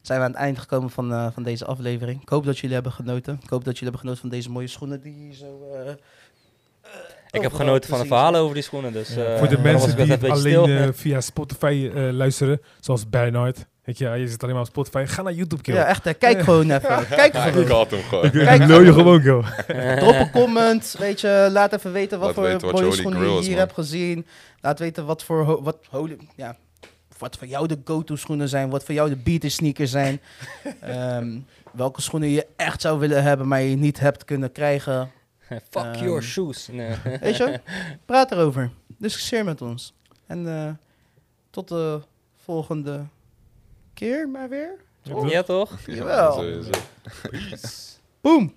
B: zijn we aan het eind gekomen van, eh, van deze aflevering. Ik hoop dat jullie hebben genoten. Ik hoop dat jullie hebben genoten van deze mooie schoenen die hier zo. eh, eh,
E: Ik heb
B: overal
E: genoten
B: te
E: van de
B: zien
E: verhalen over die schoenen, dus...
C: Ja,
E: eh,
C: Voor de
E: daarom was
C: mensen
E: ik net
C: die
E: een beetje
C: alleen
E: stil.
C: eh, via Spotify eh, luisteren, zoals Bernard. Weet je, je zit alleen maar op Spotify. Ga naar YouTube,
B: zijn.
C: kill.
B: Ja, echt, hè. kijk gewoon even. Kijk gewoon.
D: Ik had hem gewoon.
B: Kijk,
C: Lul je gewoon, kill.
B: drop een comment. Weet je, laat even weten wat
D: Laat
B: voor
D: weten wat je
B: mooie
D: holy
B: schoenen
D: grail
B: je
D: is,
B: hier
D: man.
B: hebt gezien. Laat weten wat voor, ho- wat, holy, ja, wat voor jou de go-to schoenen zijn. Wat voor jou de beater sneakers zijn. Ehm, welke schoenen je echt zou willen hebben, maar je niet hebt kunnen krijgen.
C: eh,
E: Fuck
B: Ehm,
E: your shoes. Nee.
B: Weet je, praat erover. Discussieer met ons. En eh, tot de volgende keer maar weer.
E: Ja, toch?
B: Jawel.
D: sowieso.
B: Boom!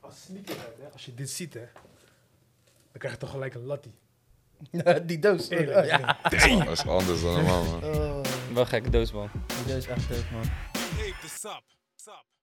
C: Als sneakerhead, hè, als je dit ziet, hè, dan krijg je toch gelijk een lattie.
B: Die doos.
C: Eerlijk.
B: Ja.
D: Dat is anders dan normaal, man.
B: Oh,
E: Wel gekke doos, man.
B: die doos is echt leuk, man.
A: Ape the sup. Sup.